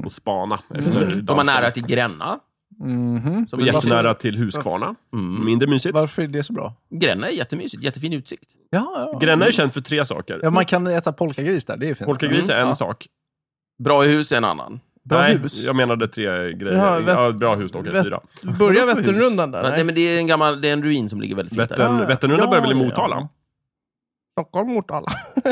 Speaker 1: Och spana efter
Speaker 2: Mm. De har
Speaker 1: dansken.
Speaker 2: nära till Gränna.
Speaker 3: Mhm.
Speaker 2: Som
Speaker 1: Och
Speaker 2: är
Speaker 1: Jättenära till Huskvarna.
Speaker 2: Mm.
Speaker 1: Mindre mysigt.
Speaker 3: Varför är det så bra?
Speaker 2: Gränna är jättemysigt. Jättefin utsikt.
Speaker 3: Ja, ja.
Speaker 1: Gränna är känd för tre saker.
Speaker 3: ja, man kan äta polkagris där. Det är fint.
Speaker 1: Polkagris är en
Speaker 3: Ja.
Speaker 1: sak.
Speaker 2: Bra hus är en annan.
Speaker 3: Bra
Speaker 1: Nej,
Speaker 3: hus.
Speaker 1: jag menade tre grejer.
Speaker 4: Jaha,
Speaker 1: Ja,
Speaker 4: vä-
Speaker 1: bra hus dock,
Speaker 4: vä-
Speaker 1: fyra.
Speaker 4: Börjar Vätternrundan där?
Speaker 2: Nej.
Speaker 4: Nej.
Speaker 2: men det är en gammal, det är en ruin som ligger väldigt fint där.
Speaker 1: Vättern,
Speaker 3: Ja.
Speaker 1: Vätternrundan
Speaker 3: Ja,
Speaker 1: börjar väl i
Speaker 3: ja.
Speaker 1: Motala?
Speaker 4: Stockholm, Motala.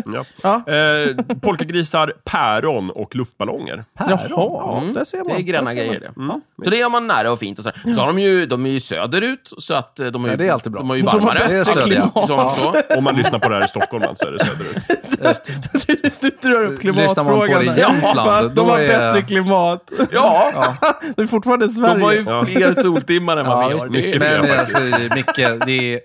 Speaker 1: Ja.
Speaker 4: Ja.
Speaker 1: Eh, polkagrisar, päron och luftballonger. Mm.
Speaker 4: Jaha,
Speaker 2: Mm.
Speaker 4: där ser man.
Speaker 2: Det är
Speaker 4: Där
Speaker 2: gröna
Speaker 4: ser
Speaker 2: grejer
Speaker 4: man.
Speaker 2: det. Så det är man nära och fint och sådär. Så har de ju, de är ju söderut, så att eh, de är ju,
Speaker 3: Ja, det är alltid bra.
Speaker 2: De är ju
Speaker 4: De har
Speaker 2: varmare.
Speaker 4: bättre
Speaker 2: Så att-
Speaker 4: klimat.
Speaker 2: så- så.
Speaker 1: Om man lyssnar på det här i Stockholm så är det söderut.
Speaker 4: *laughs* du, du drar upp
Speaker 3: Lyssnar man på det
Speaker 4: klimatfrågan. där.
Speaker 3: i Jämtland,
Speaker 4: Bara,
Speaker 3: då
Speaker 4: de har
Speaker 3: är-
Speaker 4: bättre klimat.
Speaker 2: Ja,
Speaker 4: *laughs* Det är fortfarande Sverige.
Speaker 2: de har ju
Speaker 1: Ja.
Speaker 2: fler soltimmar än vad
Speaker 3: Ja,
Speaker 2: vi
Speaker 3: visst.
Speaker 2: har. Det är-
Speaker 1: Mycket
Speaker 3: Men
Speaker 1: fler
Speaker 3: alltså, Micke, det är...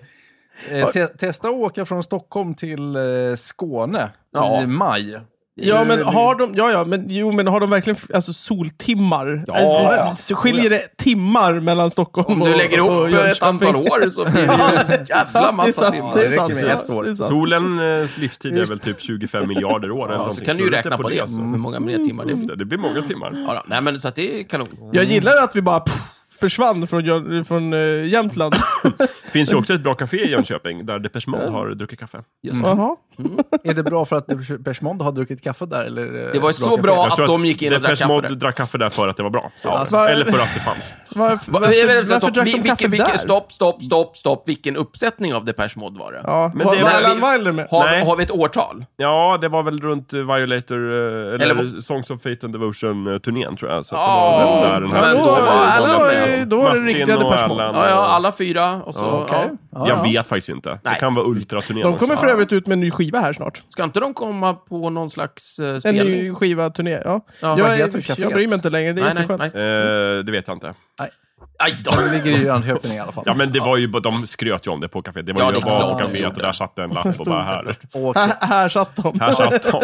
Speaker 3: Eh, te testa att åka från Stockholm till eh, Skåne
Speaker 2: Ja.
Speaker 3: i maj.
Speaker 4: Ja, men har de, ja, ja, men, jo, men har de verkligen alltså, soltimmar?
Speaker 2: Ja,
Speaker 4: Eh,
Speaker 2: ja.
Speaker 4: så Skiljer det timmar mellan Stockholm
Speaker 2: Om
Speaker 4: och
Speaker 2: du lägger
Speaker 4: och
Speaker 2: ihop eh, ett
Speaker 4: Jönköping?
Speaker 2: antal år så blir
Speaker 4: Ja,
Speaker 2: det ju en jävla
Speaker 4: det är
Speaker 2: massa
Speaker 4: sant,
Speaker 2: timmar.
Speaker 4: Det är
Speaker 3: Det
Speaker 4: sant.
Speaker 3: räcker med ett
Speaker 4: ja,
Speaker 3: år.
Speaker 4: det är sant.
Speaker 1: Solens livstid är väl typ 25 miljarder år. eller
Speaker 2: Ja, så
Speaker 1: någonting.
Speaker 2: kan du ju
Speaker 1: lite
Speaker 2: räkna på det, Mm.
Speaker 1: alltså.
Speaker 2: hur många mer timmar det är.
Speaker 1: Just det, det blir många timmar.
Speaker 2: Ja, då. nej, men så att det är kanon.
Speaker 4: Jag gillar att vi bara pff, försvann från, Jön- från eh, Jämtland.
Speaker 1: Det finns ju också ett bra café i Jönköping där Depeche Mode har druckit kaffe.
Speaker 2: Just det.
Speaker 4: Jaha.
Speaker 3: Är det bra för att Depeche Mode har druckit kaffe där? Eller, eh,
Speaker 2: Det var ju så
Speaker 3: kaffe?
Speaker 2: bra
Speaker 1: Jag
Speaker 2: att
Speaker 1: tror
Speaker 2: de gick in och drack
Speaker 1: Depeche
Speaker 2: kaffe
Speaker 1: Mode
Speaker 2: där.
Speaker 1: drack kaffe där för att det var bra.
Speaker 3: Alltså,
Speaker 1: Eller för att det fanns.
Speaker 4: Varför,
Speaker 2: Va-
Speaker 4: varför,
Speaker 2: vänta,
Speaker 4: varför,
Speaker 2: stopp.
Speaker 4: drack
Speaker 2: Vi-
Speaker 4: de
Speaker 2: vilken-
Speaker 4: kaffe
Speaker 2: vilken-
Speaker 4: där?
Speaker 2: Stopp, stopp, stopp, stopp. Vilken uppsättning av Depeche Mode var det?
Speaker 4: Ja,
Speaker 1: Men
Speaker 4: men var,
Speaker 1: det-
Speaker 4: var
Speaker 1: men-
Speaker 4: Alan Wilder med?
Speaker 2: Har,
Speaker 1: Nej.
Speaker 2: har vi ett årtal?
Speaker 1: Ja, det var väl runt eh, Violator, eh, eller,
Speaker 2: Eller-
Speaker 1: Songs of Fate and Devotion-turnén tror jag. Så att det
Speaker 2: Ja,
Speaker 1: var väl där den här
Speaker 2: men
Speaker 4: då,
Speaker 2: då var
Speaker 1: var
Speaker 2: Alan
Speaker 1: väl-
Speaker 2: med.
Speaker 4: då, då är det
Speaker 1: Martin
Speaker 4: riktiga
Speaker 1: och eh,
Speaker 4: Depeche Mode.
Speaker 1: Alan
Speaker 2: Ja, ja,
Speaker 1: och-
Speaker 2: alla fyra och så...
Speaker 3: Okej.
Speaker 2: Ja.
Speaker 3: Ja,
Speaker 1: Jag
Speaker 3: ja.
Speaker 1: vet faktiskt inte. Det
Speaker 2: Nej.
Speaker 1: kan vara ultraturnén.
Speaker 4: De kommer
Speaker 1: också.
Speaker 4: för övrigt ut med en ny skiva här snart.
Speaker 2: Ska inte de komma på någon slags eh,
Speaker 4: En
Speaker 2: spelning?
Speaker 4: ny skiva-turné. Ja.
Speaker 2: Ja,
Speaker 4: jag,
Speaker 3: vad heter
Speaker 4: är,
Speaker 3: kaféet?
Speaker 4: jag bryr mig inte längre, det är
Speaker 2: nej, nej,
Speaker 4: jätteskönt.
Speaker 2: nej.
Speaker 1: Eh, det vet jag inte.
Speaker 2: Aj då!
Speaker 3: Det ligger i Jönköping i alla fall.
Speaker 1: Ja, men det var ju, de skröt ju om det på kaféet. Det var
Speaker 2: Ja,
Speaker 1: ju
Speaker 2: det
Speaker 1: jag
Speaker 2: är
Speaker 1: var
Speaker 2: klart
Speaker 1: på
Speaker 2: de
Speaker 1: kaféet
Speaker 2: gjorde.
Speaker 1: och där satt det en lapp och bara här.
Speaker 3: Och,
Speaker 4: Här, här satt de.
Speaker 1: Här satt de.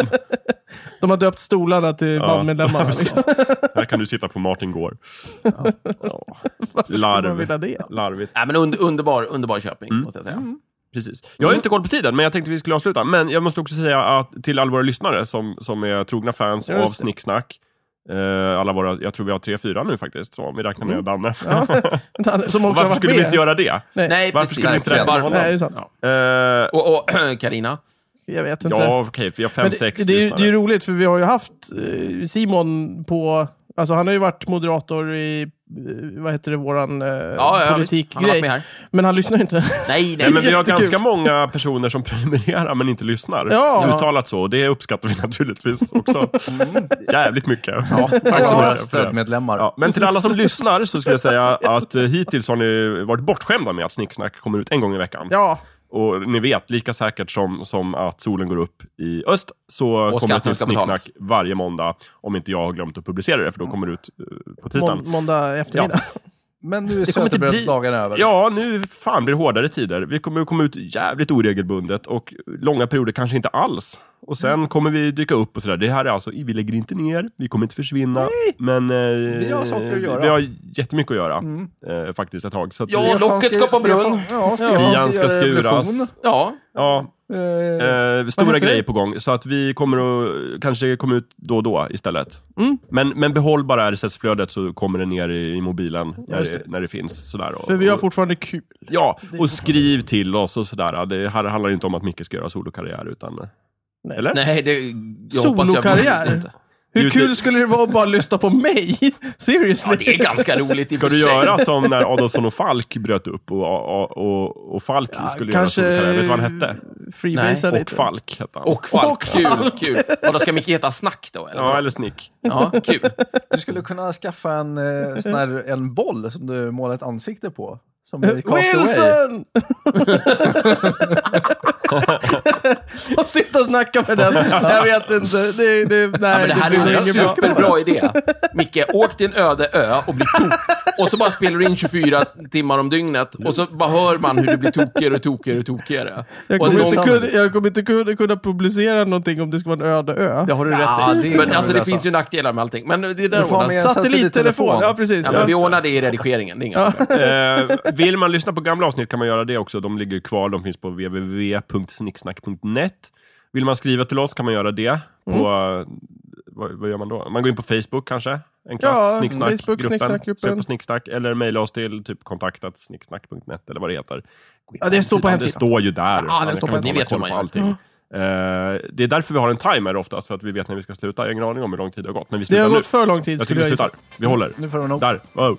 Speaker 4: De har döpt stolarna till
Speaker 1: *laughs*
Speaker 4: bandmedlemmar.
Speaker 1: precis. Här kan du sitta på Martin Gård. Ja.
Speaker 4: man vilja
Speaker 1: Larv. *laughs*
Speaker 4: det?
Speaker 1: Larvigt.
Speaker 2: Nej, men und, underbar, underbar Köping,
Speaker 1: Mm.
Speaker 2: måste jag säga.
Speaker 4: Mm.
Speaker 1: Precis. Jag har inte koll på tiden, men jag tänkte vi skulle avsluta. Men jag måste också säga att till alla våra lyssnare som, som är trogna fans
Speaker 4: Ja, just
Speaker 1: av
Speaker 4: det.
Speaker 1: Snicksnack. Eh, alla våra, jag tror vi har tre, fyra nu faktiskt, så, om vi räknar med
Speaker 4: Mm.
Speaker 1: Danne. *laughs*
Speaker 4: Som
Speaker 1: Och
Speaker 4: också har
Speaker 1: varför
Speaker 4: varit
Speaker 1: skulle
Speaker 4: med.
Speaker 1: vi inte göra det?
Speaker 4: Nej,
Speaker 2: Nej,
Speaker 1: Varför
Speaker 2: precis.
Speaker 1: skulle vi inte
Speaker 2: Verkligen.
Speaker 1: räkna honom?
Speaker 4: Nej, det är sant.
Speaker 2: Ja.
Speaker 1: Eh,
Speaker 2: Och, och *clears throat* Carina?
Speaker 4: Jag vet inte.
Speaker 1: ja, okej, vi har fem,
Speaker 4: Men
Speaker 1: sex
Speaker 4: det, det, är ju,
Speaker 1: lyssnare.
Speaker 4: det är ju roligt, för vi har ju haft eh, Simon på... Alltså han har ju varit moderator i, eh, vad heter det, våran eh,
Speaker 2: Ja, ja, visst. Han har varit med
Speaker 4: politikgrej.
Speaker 2: här.
Speaker 4: Men han lyssnar ju inte.
Speaker 2: Nej, nej.
Speaker 1: Nej, men vi har
Speaker 4: Jättekul.
Speaker 1: ganska många personer som *laughs* prenumererar men inte lyssnar.
Speaker 4: Ja. Mm.
Speaker 1: Uttalat så, och det uppskattar vi *laughs* naturligtvis också. Jävligt mycket.
Speaker 3: ja, tack så
Speaker 1: Ja.
Speaker 3: mycket. Stödmedlemmar.
Speaker 1: Ja, men till alla
Speaker 4: *laughs*
Speaker 1: som lyssnar så skulle jag säga att eh, hittills har ni varit bortskämda med att Snicksnack kommer ut en gång i veckan.
Speaker 4: *laughs* ja,
Speaker 1: Och ni vet, lika säkert som, som att solen går upp i öst så kommer det ett
Speaker 2: skatten
Speaker 1: nytt
Speaker 2: ska
Speaker 1: Snicksnack
Speaker 2: betalas.
Speaker 1: varje måndag. Om inte jag har glömt att publicera det, för då kommer det ut eh, på
Speaker 4: må,
Speaker 1: tisdagen.
Speaker 4: måndag eftermiddag.
Speaker 3: Men nu är
Speaker 1: kommer inte bli-
Speaker 3: sötebrödsdagen över.
Speaker 1: Ja, nu fan blir det hårdare tider. Vi kommer att komma ut jävligt oregelbundet och långa perioder kanske inte alls. Och sen kommer vi dyka upp och sådär. Det här är alltså, vi lägger inte ner, vi kommer inte försvinna. Men eh,
Speaker 3: Vi har saker att göra.
Speaker 1: Vi har jättemycket att göra, eh, faktiskt, ett tag. Så att,
Speaker 2: Ja,
Speaker 1: eh,
Speaker 2: locket ska på brunn.
Speaker 3: Ja,
Speaker 1: Stian
Speaker 3: Stefan
Speaker 1: ska
Speaker 3: göra revolution.
Speaker 1: skuras.
Speaker 2: Ja,
Speaker 1: Ja,
Speaker 4: Eh,
Speaker 1: eh,
Speaker 4: heter
Speaker 1: stora
Speaker 4: det?
Speaker 1: grejer på gång. Så att vi kommer att eh, kanske komma ut då och då istället.
Speaker 4: Mm.
Speaker 1: Men, men behåll bara RSS-flödet så kommer det ner i, i mobilen när,
Speaker 4: Just
Speaker 1: det. när det finns. Sådär. Och,
Speaker 4: för vi har fortfarande kul.
Speaker 1: Ja, och skriv till oss och sådär. Det här handlar inte om att Micke ska göra solokarriär, utan...
Speaker 4: Nej.
Speaker 1: Eller?
Speaker 2: nej, det... Jag hoppas jag
Speaker 4: Solokarriär?
Speaker 2: inte.
Speaker 4: Hur
Speaker 1: Just
Speaker 4: kul
Speaker 1: det.
Speaker 4: skulle det vara att bara lyssna på mig? *laughs* Seriously?
Speaker 2: Ja, det är ganska roligt i och
Speaker 1: Ska
Speaker 2: för
Speaker 1: du
Speaker 2: sig.
Speaker 1: göra som när Adolfsson och Falk bröt upp och, och, och, och Falk
Speaker 4: Ja,
Speaker 1: skulle göra solokarriär? Vet du vad han hette?
Speaker 4: Freebasea
Speaker 1: Och
Speaker 4: lite.
Speaker 1: Falk hette han.
Speaker 2: Och Falk.
Speaker 4: Och
Speaker 2: kul, kul. Och då ska Micke heta Snack då, eller?
Speaker 1: Ja,
Speaker 2: Ja,
Speaker 1: eller Snick.
Speaker 2: kul.
Speaker 3: Du skulle kunna skaffa en, eh, sån här, en boll som du målar ett ansikte på. Som i Castaway.
Speaker 4: Wilson! *laughs* och sitta och snacka med den. Jag vet inte. Det, det, nej,
Speaker 2: Ja, men det här är ju
Speaker 4: blir ingen
Speaker 2: en
Speaker 4: bra.
Speaker 2: superbra idé.
Speaker 3: *laughs*
Speaker 2: Micke, åk till en öde ö och bli tok. Och så bara spelar du in 24 timmar om dygnet och så bara hör man hur du blir tokigare och tokigare och tokigare.
Speaker 4: Jag
Speaker 2: och
Speaker 4: kommer,
Speaker 2: någon-
Speaker 4: inte kunna, jag kommer inte kunna, kunna publicera någonting om det ska vara en öde ö.
Speaker 3: Det har du rätt
Speaker 2: Ja,
Speaker 3: i. kan
Speaker 2: men
Speaker 3: du
Speaker 2: alltså det
Speaker 3: lösa.
Speaker 2: finns ju nackdelar med allting. Men det är
Speaker 3: Du
Speaker 2: där
Speaker 3: får ha med
Speaker 2: ordnas.
Speaker 3: en
Speaker 4: Satellittelefon, ja precis.
Speaker 2: Ja, men vi
Speaker 4: Just det.
Speaker 2: ordnar det i redigeringen, det är inga problem.
Speaker 1: Eh, vill man lyssna på gamla avsnitt kan man göra det också. De ligger ju kvar. De finns på www.snicksnack.net. Vill man skriva till oss kan man göra det. På,
Speaker 4: Mm.
Speaker 1: eh, vad, vad gör man då? Man går in på Facebook kanske? En kast,
Speaker 4: Ja,
Speaker 1: snicksnack,
Speaker 4: Facebook,
Speaker 1: gruppen.
Speaker 4: Snicksnackgruppen.
Speaker 1: Sök på snicksnack eller mejla oss till typ kontaktat snicksnack.net eller vad det heter. Gå in
Speaker 4: Ja, det står på
Speaker 1: Det
Speaker 4: hemsidan.
Speaker 1: står ju där.
Speaker 4: Ja, det
Speaker 1: Jag
Speaker 4: står
Speaker 1: kan
Speaker 4: på-
Speaker 1: inte
Speaker 2: ni vet
Speaker 1: hålla
Speaker 2: hur
Speaker 1: koll
Speaker 2: man
Speaker 1: på allting. Eh, det är därför vi har en timer oftast, för att vi vet när vi ska sluta. Jag har ingen aning om hur lång tid det har gått, men vi
Speaker 4: Det
Speaker 1: slutar
Speaker 4: har
Speaker 1: nu.
Speaker 4: gått för lång tid
Speaker 1: jag tycker
Speaker 4: skulle
Speaker 1: vi
Speaker 4: jag gissa. Mm,
Speaker 1: slutar. Vi håller.
Speaker 3: Nu får du nog.
Speaker 1: Där. Wow.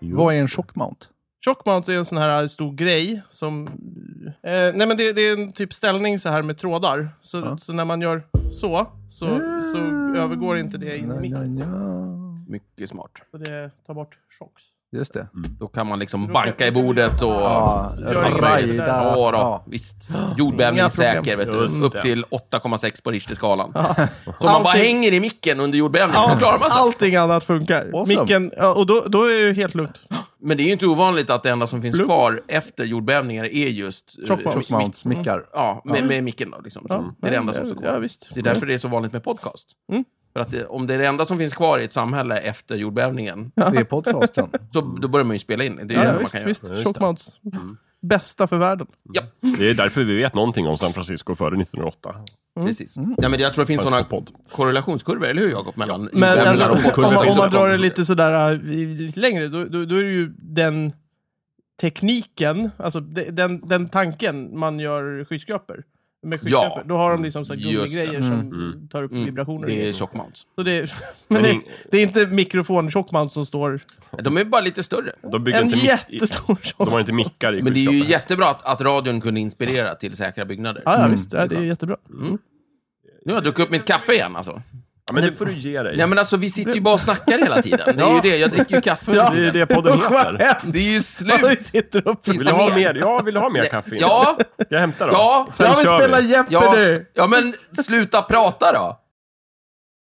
Speaker 3: Vad är en chockmount?
Speaker 4: Shockmount är en sån här stor grej som... Eh, nej men det, det är en typ ställning så här med trådar. Så,
Speaker 3: Ja.
Speaker 4: så när man gör så, så, så övergår inte det in i micken.
Speaker 2: Mycket smart.
Speaker 4: Så det tar bort shocks.
Speaker 3: Just det.
Speaker 2: Då kan man liksom banka i bordet och...
Speaker 3: Ja,
Speaker 4: jag är
Speaker 2: Raj,
Speaker 4: inte
Speaker 2: där.
Speaker 4: där.
Speaker 2: Ja, då.
Speaker 3: Ja.
Speaker 2: visst. Jordbävning är
Speaker 4: Inga problem.
Speaker 2: säker, vet
Speaker 1: Just
Speaker 2: du. Upp
Speaker 1: det.
Speaker 2: till 8,6 på Richterskalan. Så om man
Speaker 4: Allting-
Speaker 2: bara hänger i micken under jordbävningen, då klarar man sig.
Speaker 4: Allting annat funkar.
Speaker 3: Awesome.
Speaker 4: Micken, ja, och då, då är det helt lugnt.
Speaker 2: Men det är ju inte ovanligt att det enda som finns
Speaker 4: Blup.
Speaker 2: kvar efter jordbävningar är just... eh,
Speaker 4: Chockmount.
Speaker 2: mick-
Speaker 3: Chockmounts, mickar.
Speaker 2: Ja, med, med micken då. Liksom.
Speaker 4: Ja,
Speaker 2: Det är det enda
Speaker 4: ja,
Speaker 2: som står kvar.
Speaker 4: Ja, visst.
Speaker 2: Det är därför det är så vanligt med podcast.
Speaker 4: Mm.
Speaker 2: För att det, om det är det enda som finns kvar i ett samhälle efter jordbävningen,
Speaker 3: Det är podcasten.
Speaker 2: så då börjar man ju spela in. Det är
Speaker 4: Ja,
Speaker 2: ju
Speaker 4: ja,
Speaker 2: det man
Speaker 4: visst,
Speaker 2: kan
Speaker 4: visst.
Speaker 1: Ja, just
Speaker 4: Shockmounts. Bästa för världen.
Speaker 1: Det är därför vi vet någonting om San Francisco före 1908.
Speaker 4: Mm.
Speaker 2: göra. Precis. Ja, men jag tror det finns
Speaker 1: Fanns
Speaker 2: sådana
Speaker 1: på podd.
Speaker 2: korrelationskurvor, eller hur Jakob? Mellan
Speaker 4: Men
Speaker 2: jordbävningar
Speaker 4: alltså,
Speaker 2: och
Speaker 4: om,
Speaker 2: podcast.
Speaker 4: man, om man drar det
Speaker 2: Sådär.
Speaker 4: lite sådär äh, i- lite längre, då, då, då är det ju den tekniken, alltså de- den, den tanken man gör skyskrapor. Med skyskrapor.
Speaker 2: Ja.
Speaker 4: Då har de liksom så
Speaker 1: Mm,
Speaker 4: här
Speaker 2: Just det.
Speaker 4: gummigrejer som tar upp vibrationer.
Speaker 2: Mm. Det är tjockmounts.
Speaker 4: så det, *laughs* men
Speaker 1: Mm.
Speaker 4: det, det är inte mikrofon tjockmount som står...
Speaker 2: De är bara lite större.
Speaker 1: De, bygger
Speaker 4: En
Speaker 1: inte mick-
Speaker 4: jättestor
Speaker 1: *laughs* de
Speaker 4: tjock...
Speaker 1: har inte mickar i
Speaker 2: Men det är ju
Speaker 1: skyskrapan.
Speaker 2: jättebra att, att radion kunde inspirera till säkra byggnader.
Speaker 4: Ja, ja,
Speaker 1: Mm.
Speaker 4: visst. Ja, det är jättebra.
Speaker 2: Nu har jag druckit upp mitt kaffe igen alltså.
Speaker 1: ja, men det får du ge dig.
Speaker 2: Nej men alltså, vi sitter ju bara och snackar hela tiden. Det är ju det, jag dricker ju kaffe.
Speaker 4: Ja.
Speaker 1: Det är det
Speaker 2: *laughs*
Speaker 1: podden
Speaker 4: Usch, vad
Speaker 1: heter.
Speaker 4: hemskt! *laughs*
Speaker 2: Det är ju
Speaker 4: Vi
Speaker 2: slut!
Speaker 4: sitter och...
Speaker 2: Finns
Speaker 1: Vill
Speaker 2: det
Speaker 1: du ha
Speaker 2: mer?
Speaker 1: mer? Ja, vill du ha mer kaffe?
Speaker 2: Ja,
Speaker 1: Jag hämtar då.
Speaker 2: Ja.
Speaker 1: Sen
Speaker 4: Jag vill
Speaker 1: kör
Speaker 4: spela
Speaker 1: vi.
Speaker 4: Jeopardy!
Speaker 2: ja, ja, men sluta prata då!